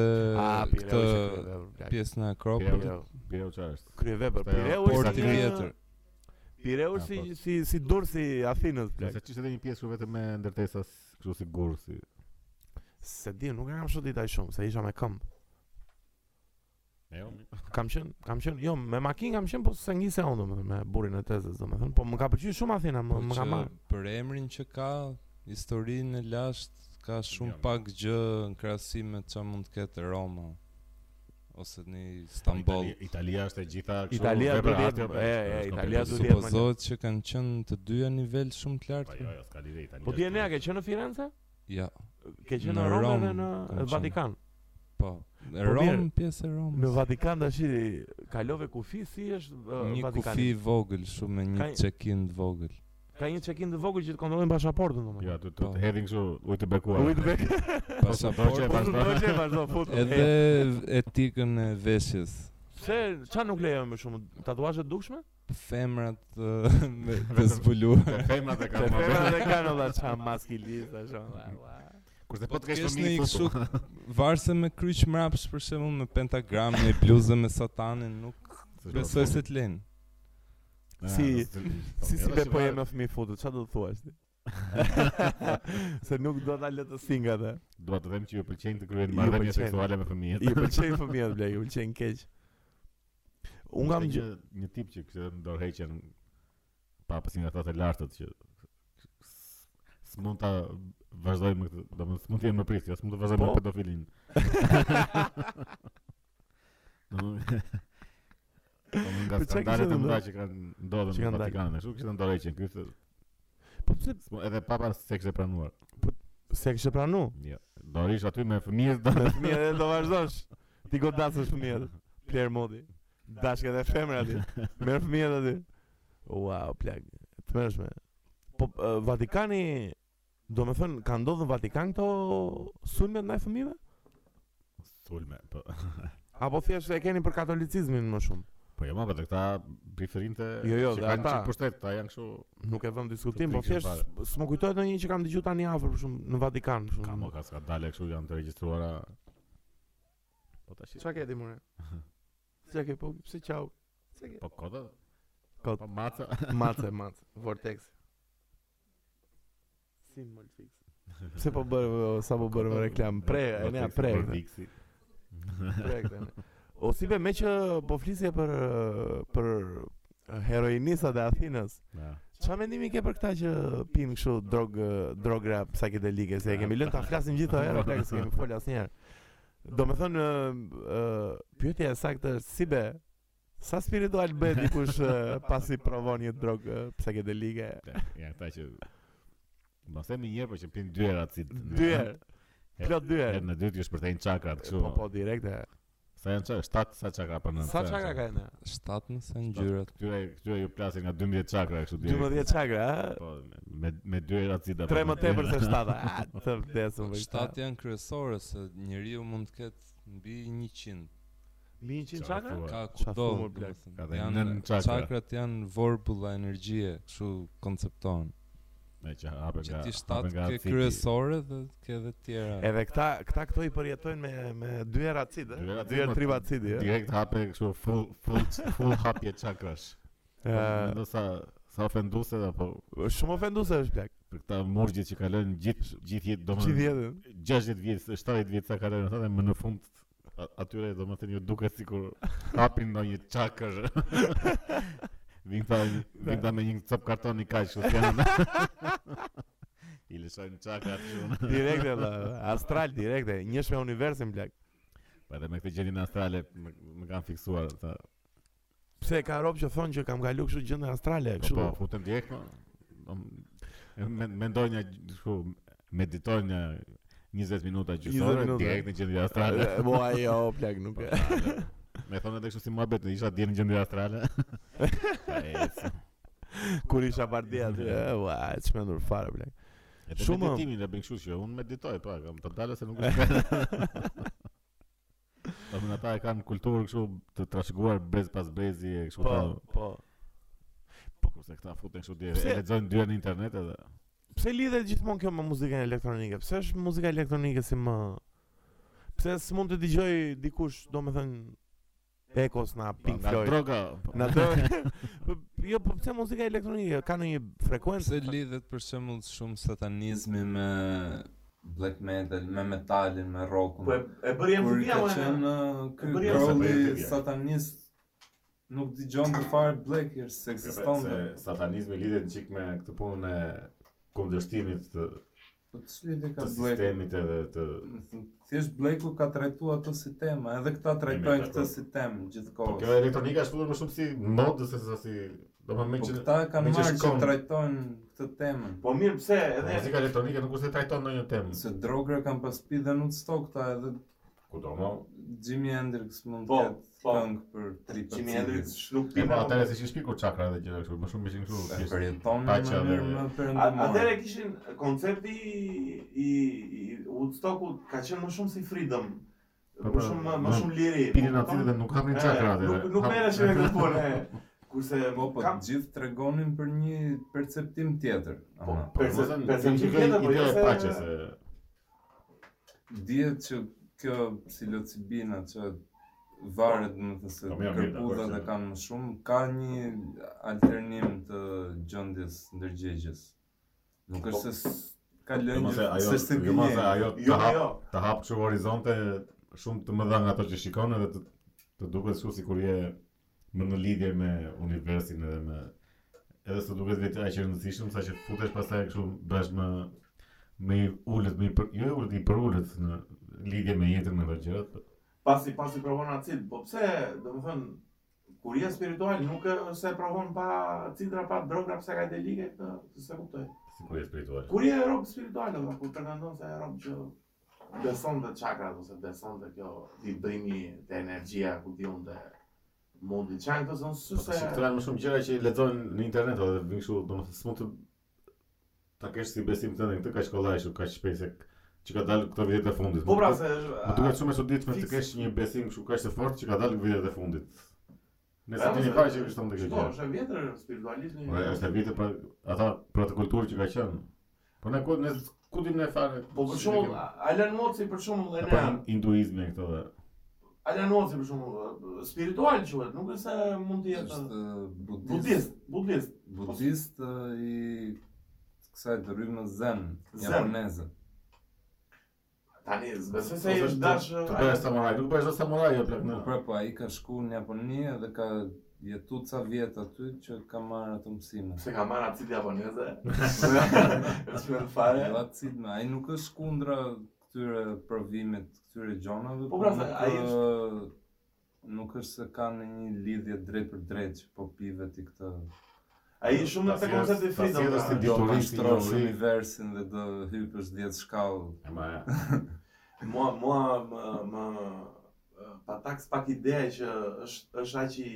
Speaker 1: Ah, Pireu
Speaker 3: këtë pjesë në Akropolit.
Speaker 1: Pireu.
Speaker 2: Pireu çfarë është?
Speaker 1: Kryevepër.
Speaker 2: Ajo,
Speaker 1: Pireu është
Speaker 3: Porti
Speaker 1: një-
Speaker 3: vjetër.
Speaker 1: Pireu është
Speaker 2: Ah,
Speaker 1: si
Speaker 2: po.
Speaker 1: si si dursi i Athinës plak.
Speaker 2: Nëse çishte edhe një pjesë kur vetëm me ndërtesa s- kështu si gur si.
Speaker 1: Se di, nuk e kam shoh ditaj shumë, se isha me këmbë.
Speaker 2: Jo,
Speaker 1: Kam qen, kam qen, jo, me makinë kam qen, po se ngjise unë domethënë me burin e tezës domethënë, po më ka pëlqyer shumë Athina, më,
Speaker 3: Po
Speaker 1: më ka
Speaker 3: që
Speaker 1: marrë.
Speaker 3: Për emrin që ka, historinë e lashtë ka shumë
Speaker 2: Jam.
Speaker 3: pak gjë në krahasim me çfarë mund të ketë Roma ose në Istanbul.
Speaker 2: Itali- Italia është e gjitha kështu.
Speaker 1: Italia
Speaker 2: vepra
Speaker 1: duhet
Speaker 2: atë,
Speaker 1: jetë-
Speaker 2: po,
Speaker 1: e,
Speaker 2: është
Speaker 1: e,
Speaker 2: komplet
Speaker 1: Italia
Speaker 2: kështu.
Speaker 1: duhet jetë-
Speaker 3: Supozohet që kanë qenë të dyja nivel shumë të
Speaker 2: Po, Jo,
Speaker 3: lartë.
Speaker 2: jo, s'ka lidhje Italia.
Speaker 1: Po ti e nea ke qenë në Firenze?
Speaker 3: Ja,
Speaker 1: Ke qenë në
Speaker 3: Në
Speaker 1: Romë
Speaker 3: Rom
Speaker 1: dhe në
Speaker 3: kam
Speaker 1: në
Speaker 3: qenë.
Speaker 1: Vatikan.
Speaker 3: po.
Speaker 1: mirë,
Speaker 3: Rom, pjesë e
Speaker 1: Në
Speaker 3: Romës.
Speaker 1: Vatikan tash i- kalove kufi si është ë,
Speaker 3: Një
Speaker 1: Vatikani?
Speaker 3: kufi i vogël, shumë me një
Speaker 1: Ka-
Speaker 3: check-in të vogël.
Speaker 1: Ka një check-in të vogël që të kontrollojnë pasaportën
Speaker 2: Jo,
Speaker 1: domethënë.
Speaker 2: tu tu hedhin kështu ujë të bekuar.
Speaker 1: Ujtë bek.
Speaker 2: që e
Speaker 1: Po
Speaker 3: Pasaportë
Speaker 2: pas-
Speaker 1: do të çe vazhdo fut.
Speaker 3: edhe
Speaker 1: E,
Speaker 3: etikën e veshjes.
Speaker 1: pse çfarë nuk lejon më shumë tatuazhe të dukshme?
Speaker 3: Femrat ë, me të zbuluar.
Speaker 2: Te femrat e
Speaker 1: Te
Speaker 2: kanë.
Speaker 1: femrat e kanë olla ça maskilist ashtu.
Speaker 2: Kurse po
Speaker 3: Po
Speaker 2: të
Speaker 3: të
Speaker 2: kesh
Speaker 3: kesh në
Speaker 2: fëmijë
Speaker 3: i
Speaker 2: kështu.
Speaker 3: kështu varse me kryq mrapsh për shembull me pentagram, me bluzë me satanin, nuk besoj se të lënë.
Speaker 1: Si- Si si be po
Speaker 2: po
Speaker 1: jemi fëmijë futët, çfarë do të thuash ti? Se nuk do ta lë të singa atë.
Speaker 2: Dua të them që ju pëlqejnë të kryejnë
Speaker 1: Ju
Speaker 2: marrëdhënie
Speaker 1: pëlqejnë.
Speaker 2: seksuale me fëmijët.
Speaker 1: I pëlqejnë fëmijët blej, u pëlqejnë keq. Unë kam
Speaker 2: Ishte
Speaker 1: gjë.
Speaker 2: një një tip që kishte në dorëheqjen pa pasin ata të lartët që s- s'mund ta vazhdoj me këtë, domethënë s'mund të jem më prist, jo, s'mund të vazhdoj me
Speaker 1: Po.
Speaker 2: pedofilin. Domethënë Domethënë nga
Speaker 1: Po çka
Speaker 2: skandalet e
Speaker 1: kishte
Speaker 2: mëdha
Speaker 1: ndodhur?
Speaker 2: që kanë ndodhur
Speaker 1: Që
Speaker 2: në
Speaker 1: kanë dalë?
Speaker 2: Vatikanin, kështu kishte në dorëheqjen, ky thotë,
Speaker 1: Po pse
Speaker 2: s'mu- edhe papa se kishte pranuar.
Speaker 1: se kishe pranu?
Speaker 2: Jo. Do rish aty me fëmijët do.
Speaker 1: Me fëmijët e do vazhdosh. Ti godasësh fëmijët. Player modi. Dashkët e femra ti. Merr fëmijët aty. Wow, plak. Të mërshme. Po eh, Vatikani Do me thënë, ka ndodhë në Vatikan këto sulmet ndaj fëmijëve?
Speaker 2: Sulme, po.
Speaker 1: Apo thjesht e keni për katolicizmin më shumë?
Speaker 2: Po jo, ma, po të këta preferinte
Speaker 1: Jo, jo,
Speaker 2: që
Speaker 1: dhe
Speaker 2: kanë
Speaker 1: ata.
Speaker 2: qenë pushtet, ta janë kështu
Speaker 1: Nuk e vëm diskutim,
Speaker 2: Të
Speaker 1: po
Speaker 2: prikshëm
Speaker 1: thjesht
Speaker 2: fare.
Speaker 1: s'më kujtohet ndonjë që kam dëgjuar tani afër për shumë në Vatikan për
Speaker 2: Ka më
Speaker 1: shumë.
Speaker 2: ka s'ka dale kështu janë të regjistruara. Po tash.
Speaker 1: Çfarë ke ti more? Çfarë ke po? Pse çau? Çfarë ke?
Speaker 2: Po kota?
Speaker 1: Kot.
Speaker 2: Po maca.
Speaker 1: Mace, mace, vortex. Si më fix. Pse po bërë sa po bërëm reklam? Pre,
Speaker 2: Po
Speaker 1: e nea pre.
Speaker 2: Vortex,
Speaker 1: këtë,
Speaker 2: Vortexi.
Speaker 1: Pre këtë. ne. O si be me që po flisje për eh, për heroinisat e Athinës.
Speaker 2: Ja.
Speaker 1: Qa mendimi ke për këta që pinë kështu drog, drogra psakedelike, se e kemi lënë ta flasim gjithë herë, tek se kemi fol asnjëherë. Do me thënë, ë, ë, pyetja e saktë është si be, sa spiritual bëhet dikush ë, pasi provon një drog ë, psakedelike?
Speaker 2: Ja, ata që Mos themi një herë, po që pin dy herë acid.
Speaker 1: Dy herë, plot dy
Speaker 2: Herë
Speaker 1: herë.
Speaker 2: në dytë ju shpërthejnë çakrat kështu.
Speaker 1: Po po direkte.
Speaker 2: Sa janë çakra? 7 sa çakra po në.
Speaker 1: Sa çakra ka ne?
Speaker 3: 7 nëse ngjyrat.
Speaker 2: Këtyre këtyre ju plasin nga 12 çakra kështu direkt.
Speaker 1: 12 çakra, ë?
Speaker 2: Po me me dy herë acid apo.
Speaker 1: Tre më tepër se 7. A, të vdesëm.
Speaker 3: 7 janë kryesore se njeriu mund të ketë mbi 100.
Speaker 2: Çfarë
Speaker 1: 100 çakra?
Speaker 2: thua?
Speaker 3: Ka
Speaker 1: Qa
Speaker 3: kudo.
Speaker 1: thua, blek?
Speaker 3: domethënë.
Speaker 2: Ka dhe
Speaker 3: Janë
Speaker 2: nën çakra.
Speaker 3: çakrat janë vorbulla energjie, kështu koncepton.
Speaker 2: Me që hapen
Speaker 3: Që
Speaker 2: Po, nga.
Speaker 3: ti
Speaker 2: hapen
Speaker 3: 7
Speaker 2: nga
Speaker 3: ke
Speaker 2: acidi.
Speaker 3: kryesore dhe ke edhe tjera.
Speaker 1: Edhe këta këta këto i përjetojnë me me dy herë acid, ë?
Speaker 2: Dy herë acid,
Speaker 1: Dy herë
Speaker 2: mo,
Speaker 1: trivacidi, ë?
Speaker 2: Direkt hape kështu full full full hapje çakrash.
Speaker 1: Ë,
Speaker 2: Do sa sa ofenduese apo
Speaker 1: Është Shumë ofenduese është plak.
Speaker 2: për këta morgjit që kalojnë gjithë gjithë jetë
Speaker 1: Çi
Speaker 2: domethënë
Speaker 1: vjetën?
Speaker 2: 60 vjet, 70 vjet sa kalojnë ata dhe më në fund a- atyre domethënë ju duket sikur hapin ndonjë çakër. Vin ta vin ta me një cop kartoni kaq që janë. I lëshojnë çaka aty unë.
Speaker 1: Direkt e valla, astral direkt e, njësh me universin blaq.
Speaker 2: Po edhe me këtë gjendin astrale më, më kanë fiksuar ata.
Speaker 1: Pse ka rob që thonë që kam kalu kështu gjendë astrale,
Speaker 2: Po,
Speaker 1: kështu.
Speaker 2: Po futem direkt më. Mendoj mendoj një kështu meditoj një 20 minuta
Speaker 1: 20
Speaker 2: gjysore
Speaker 1: minuta.
Speaker 2: direkt në gjendin astrale. Po,
Speaker 1: Po ajo plak nuk e.
Speaker 2: Me thonë edhe kështu si muhabet, isha dje në gjendje astrale. Pa ecë. po.
Speaker 1: Kur isha bardhë aty, e, ua, e çmendur fare plak.
Speaker 2: Edhe
Speaker 1: Shumë-
Speaker 2: Shumë meditimin e bën kështu që unë meditoj, pra, kam të dalë se nuk është. Po më ata e kanë kulturë kështu të trashëguar brez pas brezi e kështu.
Speaker 1: Po,
Speaker 2: Po,
Speaker 1: po.
Speaker 2: po kurse këta futen kështu dje,
Speaker 1: Pse-
Speaker 2: e lexojnë dyra në internet edhe.
Speaker 1: Pse lidhet gjithmonë kjo me muzikën elektronike? Pse është muzika elektronike si më Pse s'mund të dëgjoj dikush, domethënë Ekos na Pink
Speaker 2: Nga
Speaker 1: Floyd.
Speaker 2: droga. po.
Speaker 1: Na do. Po, Jo, po pse muzika elektronike ka ndonjë frekuencë?
Speaker 3: Pse lidhet për shembull shumë satanizmi me black metal, me metalin, me rockun.
Speaker 1: po e bëri
Speaker 3: Kur ka qenë ky
Speaker 1: bëri
Speaker 2: MTV,
Speaker 3: grolli
Speaker 2: ja.
Speaker 3: satanist nuk dëgjon të fare black ears se ekziston.
Speaker 2: Se satanizmi lidhet një çik me këtë punën e kundërshtimit të,
Speaker 3: Po ç'lidhje ka
Speaker 2: të
Speaker 3: black?
Speaker 2: sistemit edhe të
Speaker 3: Thjesht Blake-u ka trajtuar ato si tema, edhe këta
Speaker 2: me
Speaker 3: trajtojnë këtë
Speaker 2: dakord.
Speaker 3: si temë
Speaker 2: Po
Speaker 3: gjithkohës.
Speaker 2: kjo elektronika është futur më shumë si modë se sa si domethënë me
Speaker 3: Po
Speaker 2: që
Speaker 3: këta e kanë
Speaker 2: me që
Speaker 3: marrë që
Speaker 2: shkon.
Speaker 3: trajtojnë këtë temën.
Speaker 1: Po mirë, pse
Speaker 2: muzika elektronike nuk është se trajton ndonjë temë.
Speaker 3: Se drogre kanë pas pi dhe nuk sto këta edhe
Speaker 2: Kudo më
Speaker 3: Jimi Hendrix mund
Speaker 1: Po,
Speaker 3: të ketë
Speaker 1: po.
Speaker 3: këngë për tri pacifikë.
Speaker 1: nuk
Speaker 2: Po atëherë si ishin shpikur çakra dhe gjëra kështu, më shumë ishin kështu.
Speaker 3: e
Speaker 2: thjesht
Speaker 3: përjeton në
Speaker 2: paqja
Speaker 3: mënyrë
Speaker 2: dhe-
Speaker 3: më
Speaker 1: A-
Speaker 3: perëndimore.
Speaker 1: Atëre kishin koncepti i, i Woodstockut ka qenë më shumë si freedom,
Speaker 2: Po,
Speaker 1: më
Speaker 2: po,
Speaker 1: shumë më
Speaker 2: po,
Speaker 1: shumë liri.
Speaker 2: Pinin
Speaker 1: kupton?
Speaker 2: aty dhe nuk hapin
Speaker 1: E,
Speaker 2: çakra aty.
Speaker 1: Nuk nuk merresh me këtë punë. e. Kurse
Speaker 3: Po, po të
Speaker 1: kam
Speaker 3: gjithë tregonin për një perceptim tjetër.
Speaker 1: Po,
Speaker 3: Ama,
Speaker 1: perce-
Speaker 2: Perceptim
Speaker 1: perceptim tjetër, po
Speaker 2: ideja
Speaker 1: jo
Speaker 2: e
Speaker 1: se-
Speaker 2: paqes se
Speaker 3: Dihet që kjo psilocibina që varet, më të se
Speaker 2: Po, mirë, mirë, dakord,
Speaker 3: kërpuzat e
Speaker 2: që-
Speaker 3: kanë më shumë, ka një alternim të gjëndjes ndërgjegjes. Nuk
Speaker 1: Po.
Speaker 3: është se s- ka lënë
Speaker 2: Mase ajo,
Speaker 3: se se
Speaker 2: jo mase
Speaker 3: gënjen.
Speaker 2: ajo të
Speaker 1: Jo,
Speaker 2: hap
Speaker 1: jo.
Speaker 2: të hap kështu horizonte shumë të mëdha nga ato që shikon edhe të të duket kështu sikur je më në lidhje me universin edhe me edhe të duket vetë aq e rëndësishëm sa që futesh pastaj kështu bësh më më i ulët, më i për, jo i ulët, i përulët në lidhje me jetën me këto gjërat. po.
Speaker 1: pasi pasi provon acid, po pse, domethënë kur je spiritual nuk e- se provon pa cidra, pa droga psikadelike, këtë këtë se kuptoj.
Speaker 2: Sikur je spiritual.
Speaker 1: Kur je rob spiritual, do kur pretendon se je rob që beson dhe çakrat ose beson dhe kjo vibrimi dhe energjia ku diun dhe mundi çan këto son
Speaker 2: Po tash këto
Speaker 1: syse.
Speaker 2: janë më shumë gjëra që i lexojnë në internet edhe vin kështu, domethënë s'mund të ta kesh si besim tënde këtë kaq kollaj kështu kaq shpejt se që ka dalë këto vitet e fundit.
Speaker 1: Po pra se
Speaker 2: Më duket shumë e çuditshme të
Speaker 1: Fix.
Speaker 2: kesh një besim kështu kaq të fortë që ka dalë vitet e fundit. Nëse
Speaker 1: Ja,
Speaker 2: ti
Speaker 1: ose-
Speaker 2: ka që kështu ndonjë gjë.
Speaker 1: Shiko, Po, është e vjetër spiritualizmi.
Speaker 2: Po është vite për ata për atë kulturë që ka qenë. Po ne ku ne ku dim ne fare.
Speaker 1: Po për shembull, Alan Moci për shembull dhe
Speaker 2: apo
Speaker 1: ne
Speaker 2: hinduizmi këto dhe
Speaker 1: Alan Moci për shembull spiritual quhet, nuk është se mund të jetë
Speaker 3: Është budist.
Speaker 1: budist, budist.
Speaker 3: Budist ë, i kësaj të rrymës zen,
Speaker 1: Zen.
Speaker 3: japoneze.
Speaker 1: Tani besoj se
Speaker 2: Ose
Speaker 1: i
Speaker 2: Po, është
Speaker 1: dash
Speaker 2: të bësh samuraj, nuk bësh do samuraj apo jo, plak
Speaker 3: Po
Speaker 2: në.
Speaker 3: pra, po ai ka shku në Japoni dhe ka jetu ca vjet aty që ka marrë ato mësime.
Speaker 1: se ka marrë acid japoneze. Është më fare.
Speaker 3: Jo acid me, ai nuk është kundra këtyre provimit, këtyre gjonave,
Speaker 1: Po, pra, se
Speaker 3: nuk,
Speaker 1: ai
Speaker 3: ë, nuk është se ka në një lidhje drejt për drejt që po pive ti këtë
Speaker 1: Ai shumë
Speaker 2: Ta
Speaker 1: te
Speaker 2: sjellës-
Speaker 1: koncepti
Speaker 2: ta
Speaker 1: freedom.
Speaker 2: sjellës
Speaker 1: pra.
Speaker 2: ti
Speaker 3: do
Speaker 2: Dituristi,
Speaker 3: pashtrosh
Speaker 2: njolli.
Speaker 3: universin dhe do hypësh 10 shkallë
Speaker 2: Ema ja.
Speaker 1: Mua, mua më, më pa tak pak ideja që është është aq i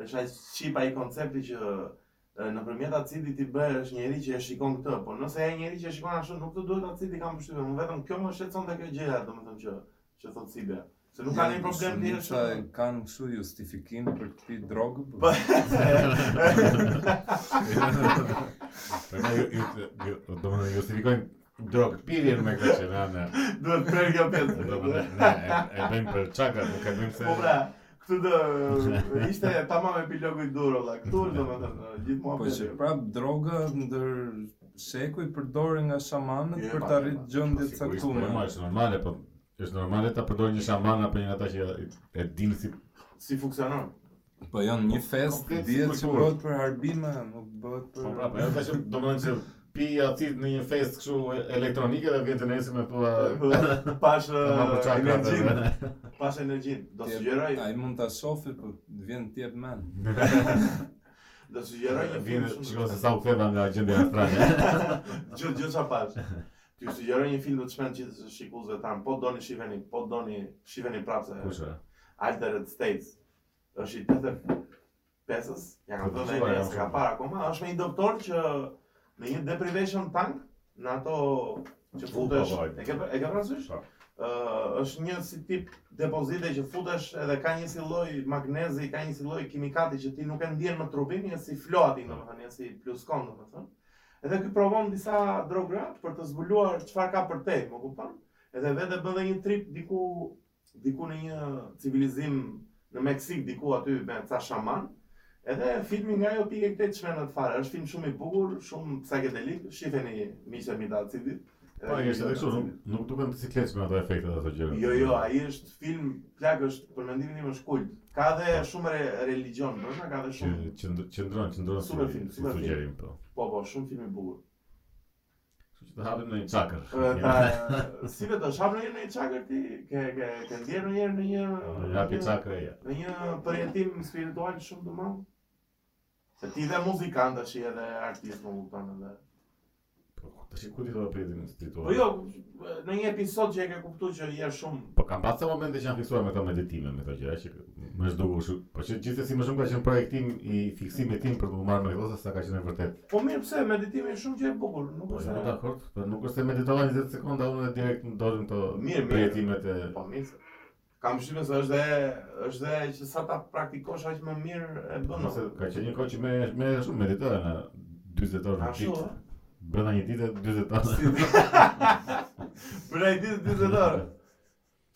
Speaker 1: është aq çip ai koncepti që e, nëpërmjet acidit ti bëhesh njëri që e shikon këtë, por nëse ai njëri që e shikon ashtu nuk të duhet acidi kam përshtypjen, unë vetëm kjo më shqetëson dhe kjo gjëja, domethënë që që thot Sibia. Se nuk ka ndonjë problem po. ti
Speaker 3: Shumica e kanë kështu justifikim për të pi drogë. Po,
Speaker 1: është.
Speaker 2: Po ne ju ju do të justifikojmë drogë pirjen me këtë që na na.
Speaker 1: Duhet prerë kjo
Speaker 2: Do
Speaker 1: pesë.
Speaker 2: të na e, e bëjmë për çaka, nuk e bëjmë se.
Speaker 1: Po pra, këtu do ishte tamam epilogu i dur valla. Këtu është domethënë gjithmonë.
Speaker 3: po që
Speaker 1: pesë.
Speaker 3: prap droga ndër sheku i përdoret nga shamanët
Speaker 1: Je,
Speaker 3: për
Speaker 1: pa,
Speaker 3: të
Speaker 1: pa,
Speaker 3: arritë
Speaker 1: Pra,
Speaker 2: Po,
Speaker 3: gjendje të
Speaker 2: sigurisht, po, normal,
Speaker 3: caktuar.
Speaker 2: Është normale, po është normale ta përdorë një shaman apo një ata që e- e din si po,
Speaker 1: si funksionon.
Speaker 3: Po janë një fest,
Speaker 2: Komplet
Speaker 3: dihet
Speaker 2: si
Speaker 3: që
Speaker 2: kulturë.
Speaker 3: bëhet për harbime, nuk bëhet
Speaker 2: Po
Speaker 1: pra,
Speaker 3: për...
Speaker 2: prapë, ajo tash do më thënë se pi atit në një fest kështu e- elektronike dhe vjen të po, nesi me thua
Speaker 1: Pash
Speaker 2: "Ma po për çfarë ka të
Speaker 1: energjin,
Speaker 2: bëjë?"
Speaker 1: pash energjin. Do
Speaker 3: T'jep-
Speaker 1: sugjeroj,
Speaker 3: Ai mund ta shofi, po vjen t'jep men.
Speaker 1: do sugjeroj një
Speaker 2: Vjen
Speaker 1: film shumë.
Speaker 2: shikoj se sa u ktheva nga gjendja astrale.
Speaker 1: Gjë gjë ça pash. Ju sugjeroj një film do të shmend gjithë shikuesve tan, po doni shiheni, po doni shiheni prapse.
Speaker 2: Kush e?
Speaker 1: Altered States. Është i tetë pesës, ja kam
Speaker 2: Po,
Speaker 1: thënë
Speaker 2: po,
Speaker 1: e
Speaker 2: ja,
Speaker 1: s'ka
Speaker 2: po.
Speaker 1: para akoma, është me një doktor që në një deprivation tank, në ato
Speaker 2: U,
Speaker 1: që futesh,
Speaker 2: po, vajt.
Speaker 1: e ke pra, e ke parasysh?
Speaker 2: Po.
Speaker 1: Ë, është një si tip depozite që futesh edhe ka një si lloj magnezi, ka një si lloj kimikati që ti nuk e ndjen më trupin, një si floati, domethënë, një si pluskon, domethënë. Edhe ky provon disa drogra për të zbuluar çfarë ka për te, më kupton? Edhe vetë bën dhe një trip diku diku në një civilizim në Meksik diku aty me ca shaman. Edhe filmi nga ajo pikë këtë çmen atë fare. Është film shumë i bukur, shumë psychedelik. Shiheni miqtë mi ta acidit.
Speaker 2: Po, është edhe kështu, nuk nuk duken të siklesh me ato efektet ato gjëra.
Speaker 1: Jo, jo, ai është film plak është për mendimin tim është kult. Ka dhe shumë re, religjon, brenda ka dhe
Speaker 2: që
Speaker 1: shumë.
Speaker 2: që ndr- që ndron, që ndron si
Speaker 1: Super film,
Speaker 2: si
Speaker 1: super film.
Speaker 2: sugjerim po.
Speaker 1: Po, po, shumë film i bukur.
Speaker 2: Kështu që të hapim në një çakër.
Speaker 1: Ë, Ta si vetë është hap në një çakër ti, ke ke ke ndjer ndonjëherë në një
Speaker 2: Hapi çakër ja.
Speaker 1: në një përjetim spiritual shumë të madh. Se ti dhe muzikant tash je edhe artist, më kupton edhe.
Speaker 2: Po, tash ku ti do të pritin
Speaker 1: Po
Speaker 2: spiritual?
Speaker 1: jo, në një episod që e ke kuptuar që je shumë
Speaker 2: Po kam pasur ca momente që janë fiksuar me këto meditime, me këto gjëra që më është dukur kështu. Po që gjithsesi më shumë ka qenë projektim i fiksimit tim për të u marrë me këto se sa ka qenë e vërtet.
Speaker 1: Po mirë, pse meditimi është shumë që e bukur, nuk
Speaker 2: Po
Speaker 1: është.
Speaker 2: jam dakord, po nuk është se meditova 20 sekonda unë dhe direkt më dolën këto
Speaker 1: Mirë, mirë.
Speaker 2: projetimet e
Speaker 1: Po mirë. se- Kam shtypën se është dhe është dhe që sa ta praktikosh aq më mirë e bën.
Speaker 2: Ose ka qenë një kohë që më më shumë meditoja në 40 orë në
Speaker 1: Ashtu,
Speaker 2: ditë. Brenda një dite 40 orë.
Speaker 1: Për ai ditë 40 orë.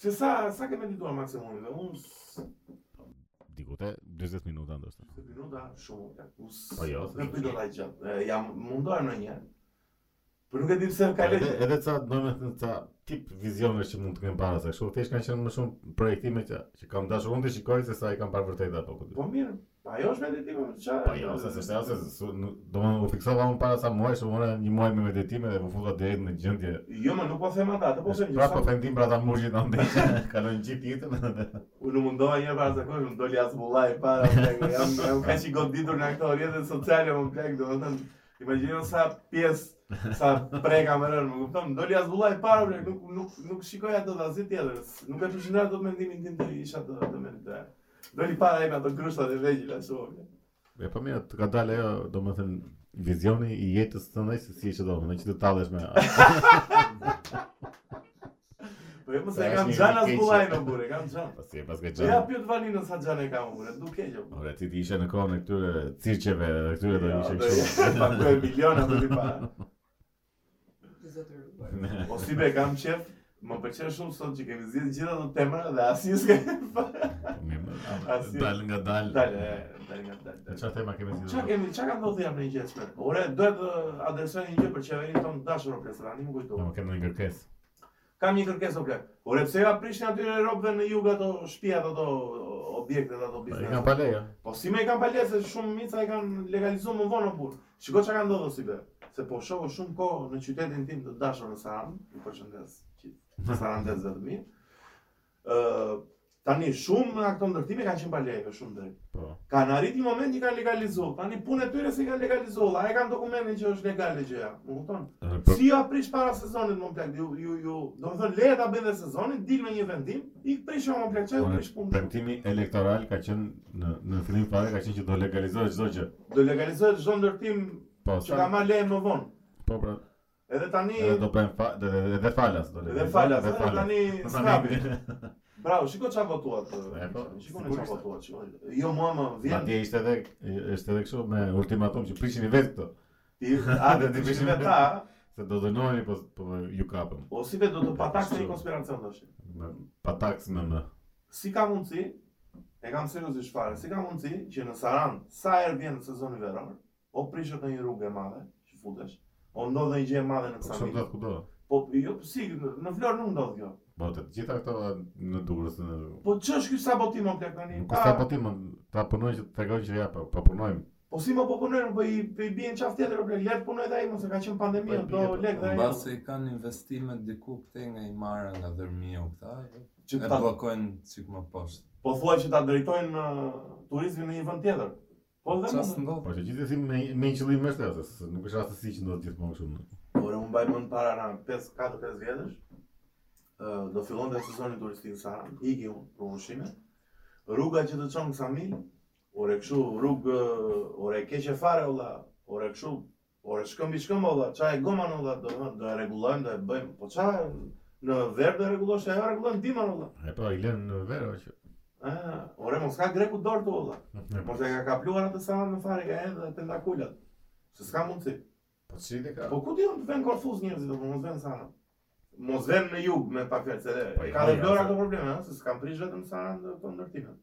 Speaker 1: Se sa sa ke medituar maksimumi? Dhe unë s-
Speaker 2: Diku te 40 minuta ndoshta.
Speaker 1: se minuta shumë. ja, Us.
Speaker 2: Po jo, se-
Speaker 1: Nuk do ta gjat. Jam munduar ndonjëherë. Po nuk e di pse ka
Speaker 2: Edhe
Speaker 1: lënë.
Speaker 2: edhe ca domethënë ca tip vizione që mund të kenë para se kështu, thjesht kanë qenë më shumë projektime që, që kam dashur unë të shikoj se sa i kam parë vërtet apo këtë.
Speaker 1: Po mirë. pa, Ajo është meditimi, çfarë?
Speaker 2: Po jo, se se se ose domethënë u fiksova unë para sa muaj, se unë një muaj me meditime dhe u futa deri në gjendje.
Speaker 1: Jo, më nuk po them ata, të po them
Speaker 2: Pra po
Speaker 1: sa-
Speaker 2: fendim pra ta murgjit andaj. Kalon gjithë jetën.
Speaker 1: Unë u mundova një herë para zakosh, më doli as mullaj para, plak, jam, jam ka që i goditur në këto rrjetet sociale, më plak, do më thënë, imagjino sa pjesë, sa preka më rënë, më kupton, më doli as mullaj para, plak, nuk, nuk, nuk shikoj ato dhe asgjë tjetër, s- nuk e përshëndra do të mendimin tim të isha të, të meditar. Doli para e me ato grushtat e vegjila, shumë, plak.
Speaker 2: E po mirë, të ka dalë ajo, domethënë vizioni i jetës të ndaj se si e që do, në që të tallesh me Ah,
Speaker 1: Po jo, mëse
Speaker 2: Po,
Speaker 1: e
Speaker 2: është
Speaker 1: kam
Speaker 2: një
Speaker 1: gjanë as
Speaker 2: keqe.
Speaker 1: mullaj në bure, kam gjanë.
Speaker 2: Pas e pas ka
Speaker 1: Po ja,
Speaker 2: qenë.
Speaker 1: pjot vaninën sa gjanë e kam bure, duke jo.
Speaker 2: Ora ti ti ishe në kohën e këtyre cirqeve dhe këtyre do ishe kështu.
Speaker 1: kështu. e miliona më di para.
Speaker 2: Ne.
Speaker 1: Po si be, kam qef, më pëlqen shumë sot që kemi zgjedhë gjitha ato temra dhe asnjë s'ka fare.
Speaker 2: Po Mirë,
Speaker 1: Asi-
Speaker 2: dal nga dal.
Speaker 1: Dale, e, dale nga dale.
Speaker 2: E çfarë tema kemi
Speaker 1: Çka
Speaker 2: zgjidhur?
Speaker 1: kemi, çka ka ndodhur jam në një gjë smet. Ore, duhet të adresoj një gjë për qeverinë tonë të dashur o plesra, nuk më
Speaker 2: Ne
Speaker 1: kujtova.
Speaker 2: më kemi një kërkesë.
Speaker 1: Kam një kërkesë o plek. Ore, pse ja prishin aty në robëve në jug ato shtëpiat ato objektet ato
Speaker 2: Po, I kanë
Speaker 1: biznese.
Speaker 2: pa leja.
Speaker 1: Po si më i kanë palë se shumë mica e kanë legalizuar më vonë burr. Shikoj çka ka ndodhur si be. Se po shoh shumë kohë në qytetin tim të dashur në Saran, ju përshëndes gjithë. Në Saran të zëtë mirë. Ë tani shumë nga këto ndërtime kanë qenë palëve shumë drejt.
Speaker 2: Po.
Speaker 1: Kanë arrit një moment që kanë legalizuar. Tani punë e tyre se kanë legalizuar. Ai kanë dokumentin që është legale gjëja. Më kupton?
Speaker 2: Ë, po-
Speaker 1: Si ja prish para sezonit më plak, ju ju ju, domethënë leje ta bëjnë dhe sezonin, dil me një vendim, i prish më plak, çaj
Speaker 2: Ore,
Speaker 1: prish punën.
Speaker 2: Premtimi elektoral ka qenë në në fillim fare ka qenë që do legalizohet çdo gjë.
Speaker 1: Do legalizohet çdo ndërtim
Speaker 2: Po,
Speaker 1: që ka
Speaker 2: sa
Speaker 1: marrë leje më vonë.
Speaker 2: po pra,
Speaker 1: Edhe tani
Speaker 2: edhe do bëjmë fa, dhe- dhe dhe falas do
Speaker 1: edhe
Speaker 2: legalizohet.
Speaker 1: falas,
Speaker 2: dhe
Speaker 1: edhe tani skapi.
Speaker 2: Tani-
Speaker 1: Bravo, shiko çfarë votuat.
Speaker 2: E, po,
Speaker 1: Shikoni
Speaker 2: sigurisht.
Speaker 1: çfarë votuat, shikoni. Jo mua më vjen
Speaker 2: Madje ishte edhe ishte edhe kështu me ultimatum që prishin i vetë këto,
Speaker 1: ti a
Speaker 2: Ti
Speaker 1: do të vishin
Speaker 2: prishin
Speaker 1: vetë ta,
Speaker 2: se do dënoheni po po ju kapëm.
Speaker 1: o si vetë do të patakse një konspiracion tash.
Speaker 2: Me pa taks me më.
Speaker 1: Si ka mundësi? E kam seriozisht fare. Si ka mundësi që në Saran sa herë vjen sezoni veror, o prishet në një rrugë e madhe, që futesh, o ndodh një gjë e madhe në
Speaker 2: Po çfarë
Speaker 1: Ksamil.
Speaker 2: do kudo?
Speaker 1: Po jo, si në Florë nuk ndodh kjo.
Speaker 2: Po të gjitha këto në Durrës në
Speaker 1: Po ç'është ky sabotim o plak tani?
Speaker 2: nuk
Speaker 1: Pa-
Speaker 2: është sabotim, ta punojnë që të tregojnë që ja, po po punojmë.
Speaker 1: Po si më po punojnë, po i po i bien qafë tjetër o plak, le të punoj dhe ai mos e ka qenë pandemia,
Speaker 2: Po i
Speaker 1: do
Speaker 2: bie, po.
Speaker 1: lek dhe jo. ai.
Speaker 3: Në se i kanë investimet diku këte nga i marra nga dërmio këta,
Speaker 1: Që
Speaker 3: e
Speaker 1: ta
Speaker 3: blokojnë qik më poshtë.
Speaker 1: po thuaj që ta drejtojnë ë, turizmin në një vend tjetër. Po dhe
Speaker 3: Qas
Speaker 1: më.
Speaker 3: ndodhë?
Speaker 2: Po që gjithsesi me me një qëllim është atë, se nuk është rastësi që ndodh gjithmonë kështu.
Speaker 1: Por unë mbaj mend para na 5 4 5 vjetësh. ë, do fillon të sezoni turistik sa iki unë për ushqime. Rruga që të çon kësa mil, ore kështu rrugë ë, ore keqe fare olla, ore kështu ore shkëmbi shkëmb olla, çaj goman olla, do të do e rregullojmë, do e bëjmë. Po ça në verë do e rregullosh, ajo e rregullon dimën olla.
Speaker 2: E po i lën në verë o që.
Speaker 1: Ah, ore mos ka greku dorë tu olla.
Speaker 2: E
Speaker 1: Mos e ka kapluar atë sa në fare ka edhe tentakulat. Se s'ka mundsi.
Speaker 2: Po si dhe ka?
Speaker 1: Po ku ti do të vënë Korfuz njerëzit apo mos vënë Sana? Mos vënë në jug me pak fjalë se
Speaker 2: Po, i
Speaker 1: ka
Speaker 2: kanë,
Speaker 1: dhe Vlora
Speaker 2: se-
Speaker 1: këto probleme, ëh, se s'kan prish vetëm Sana në këto ndërtime.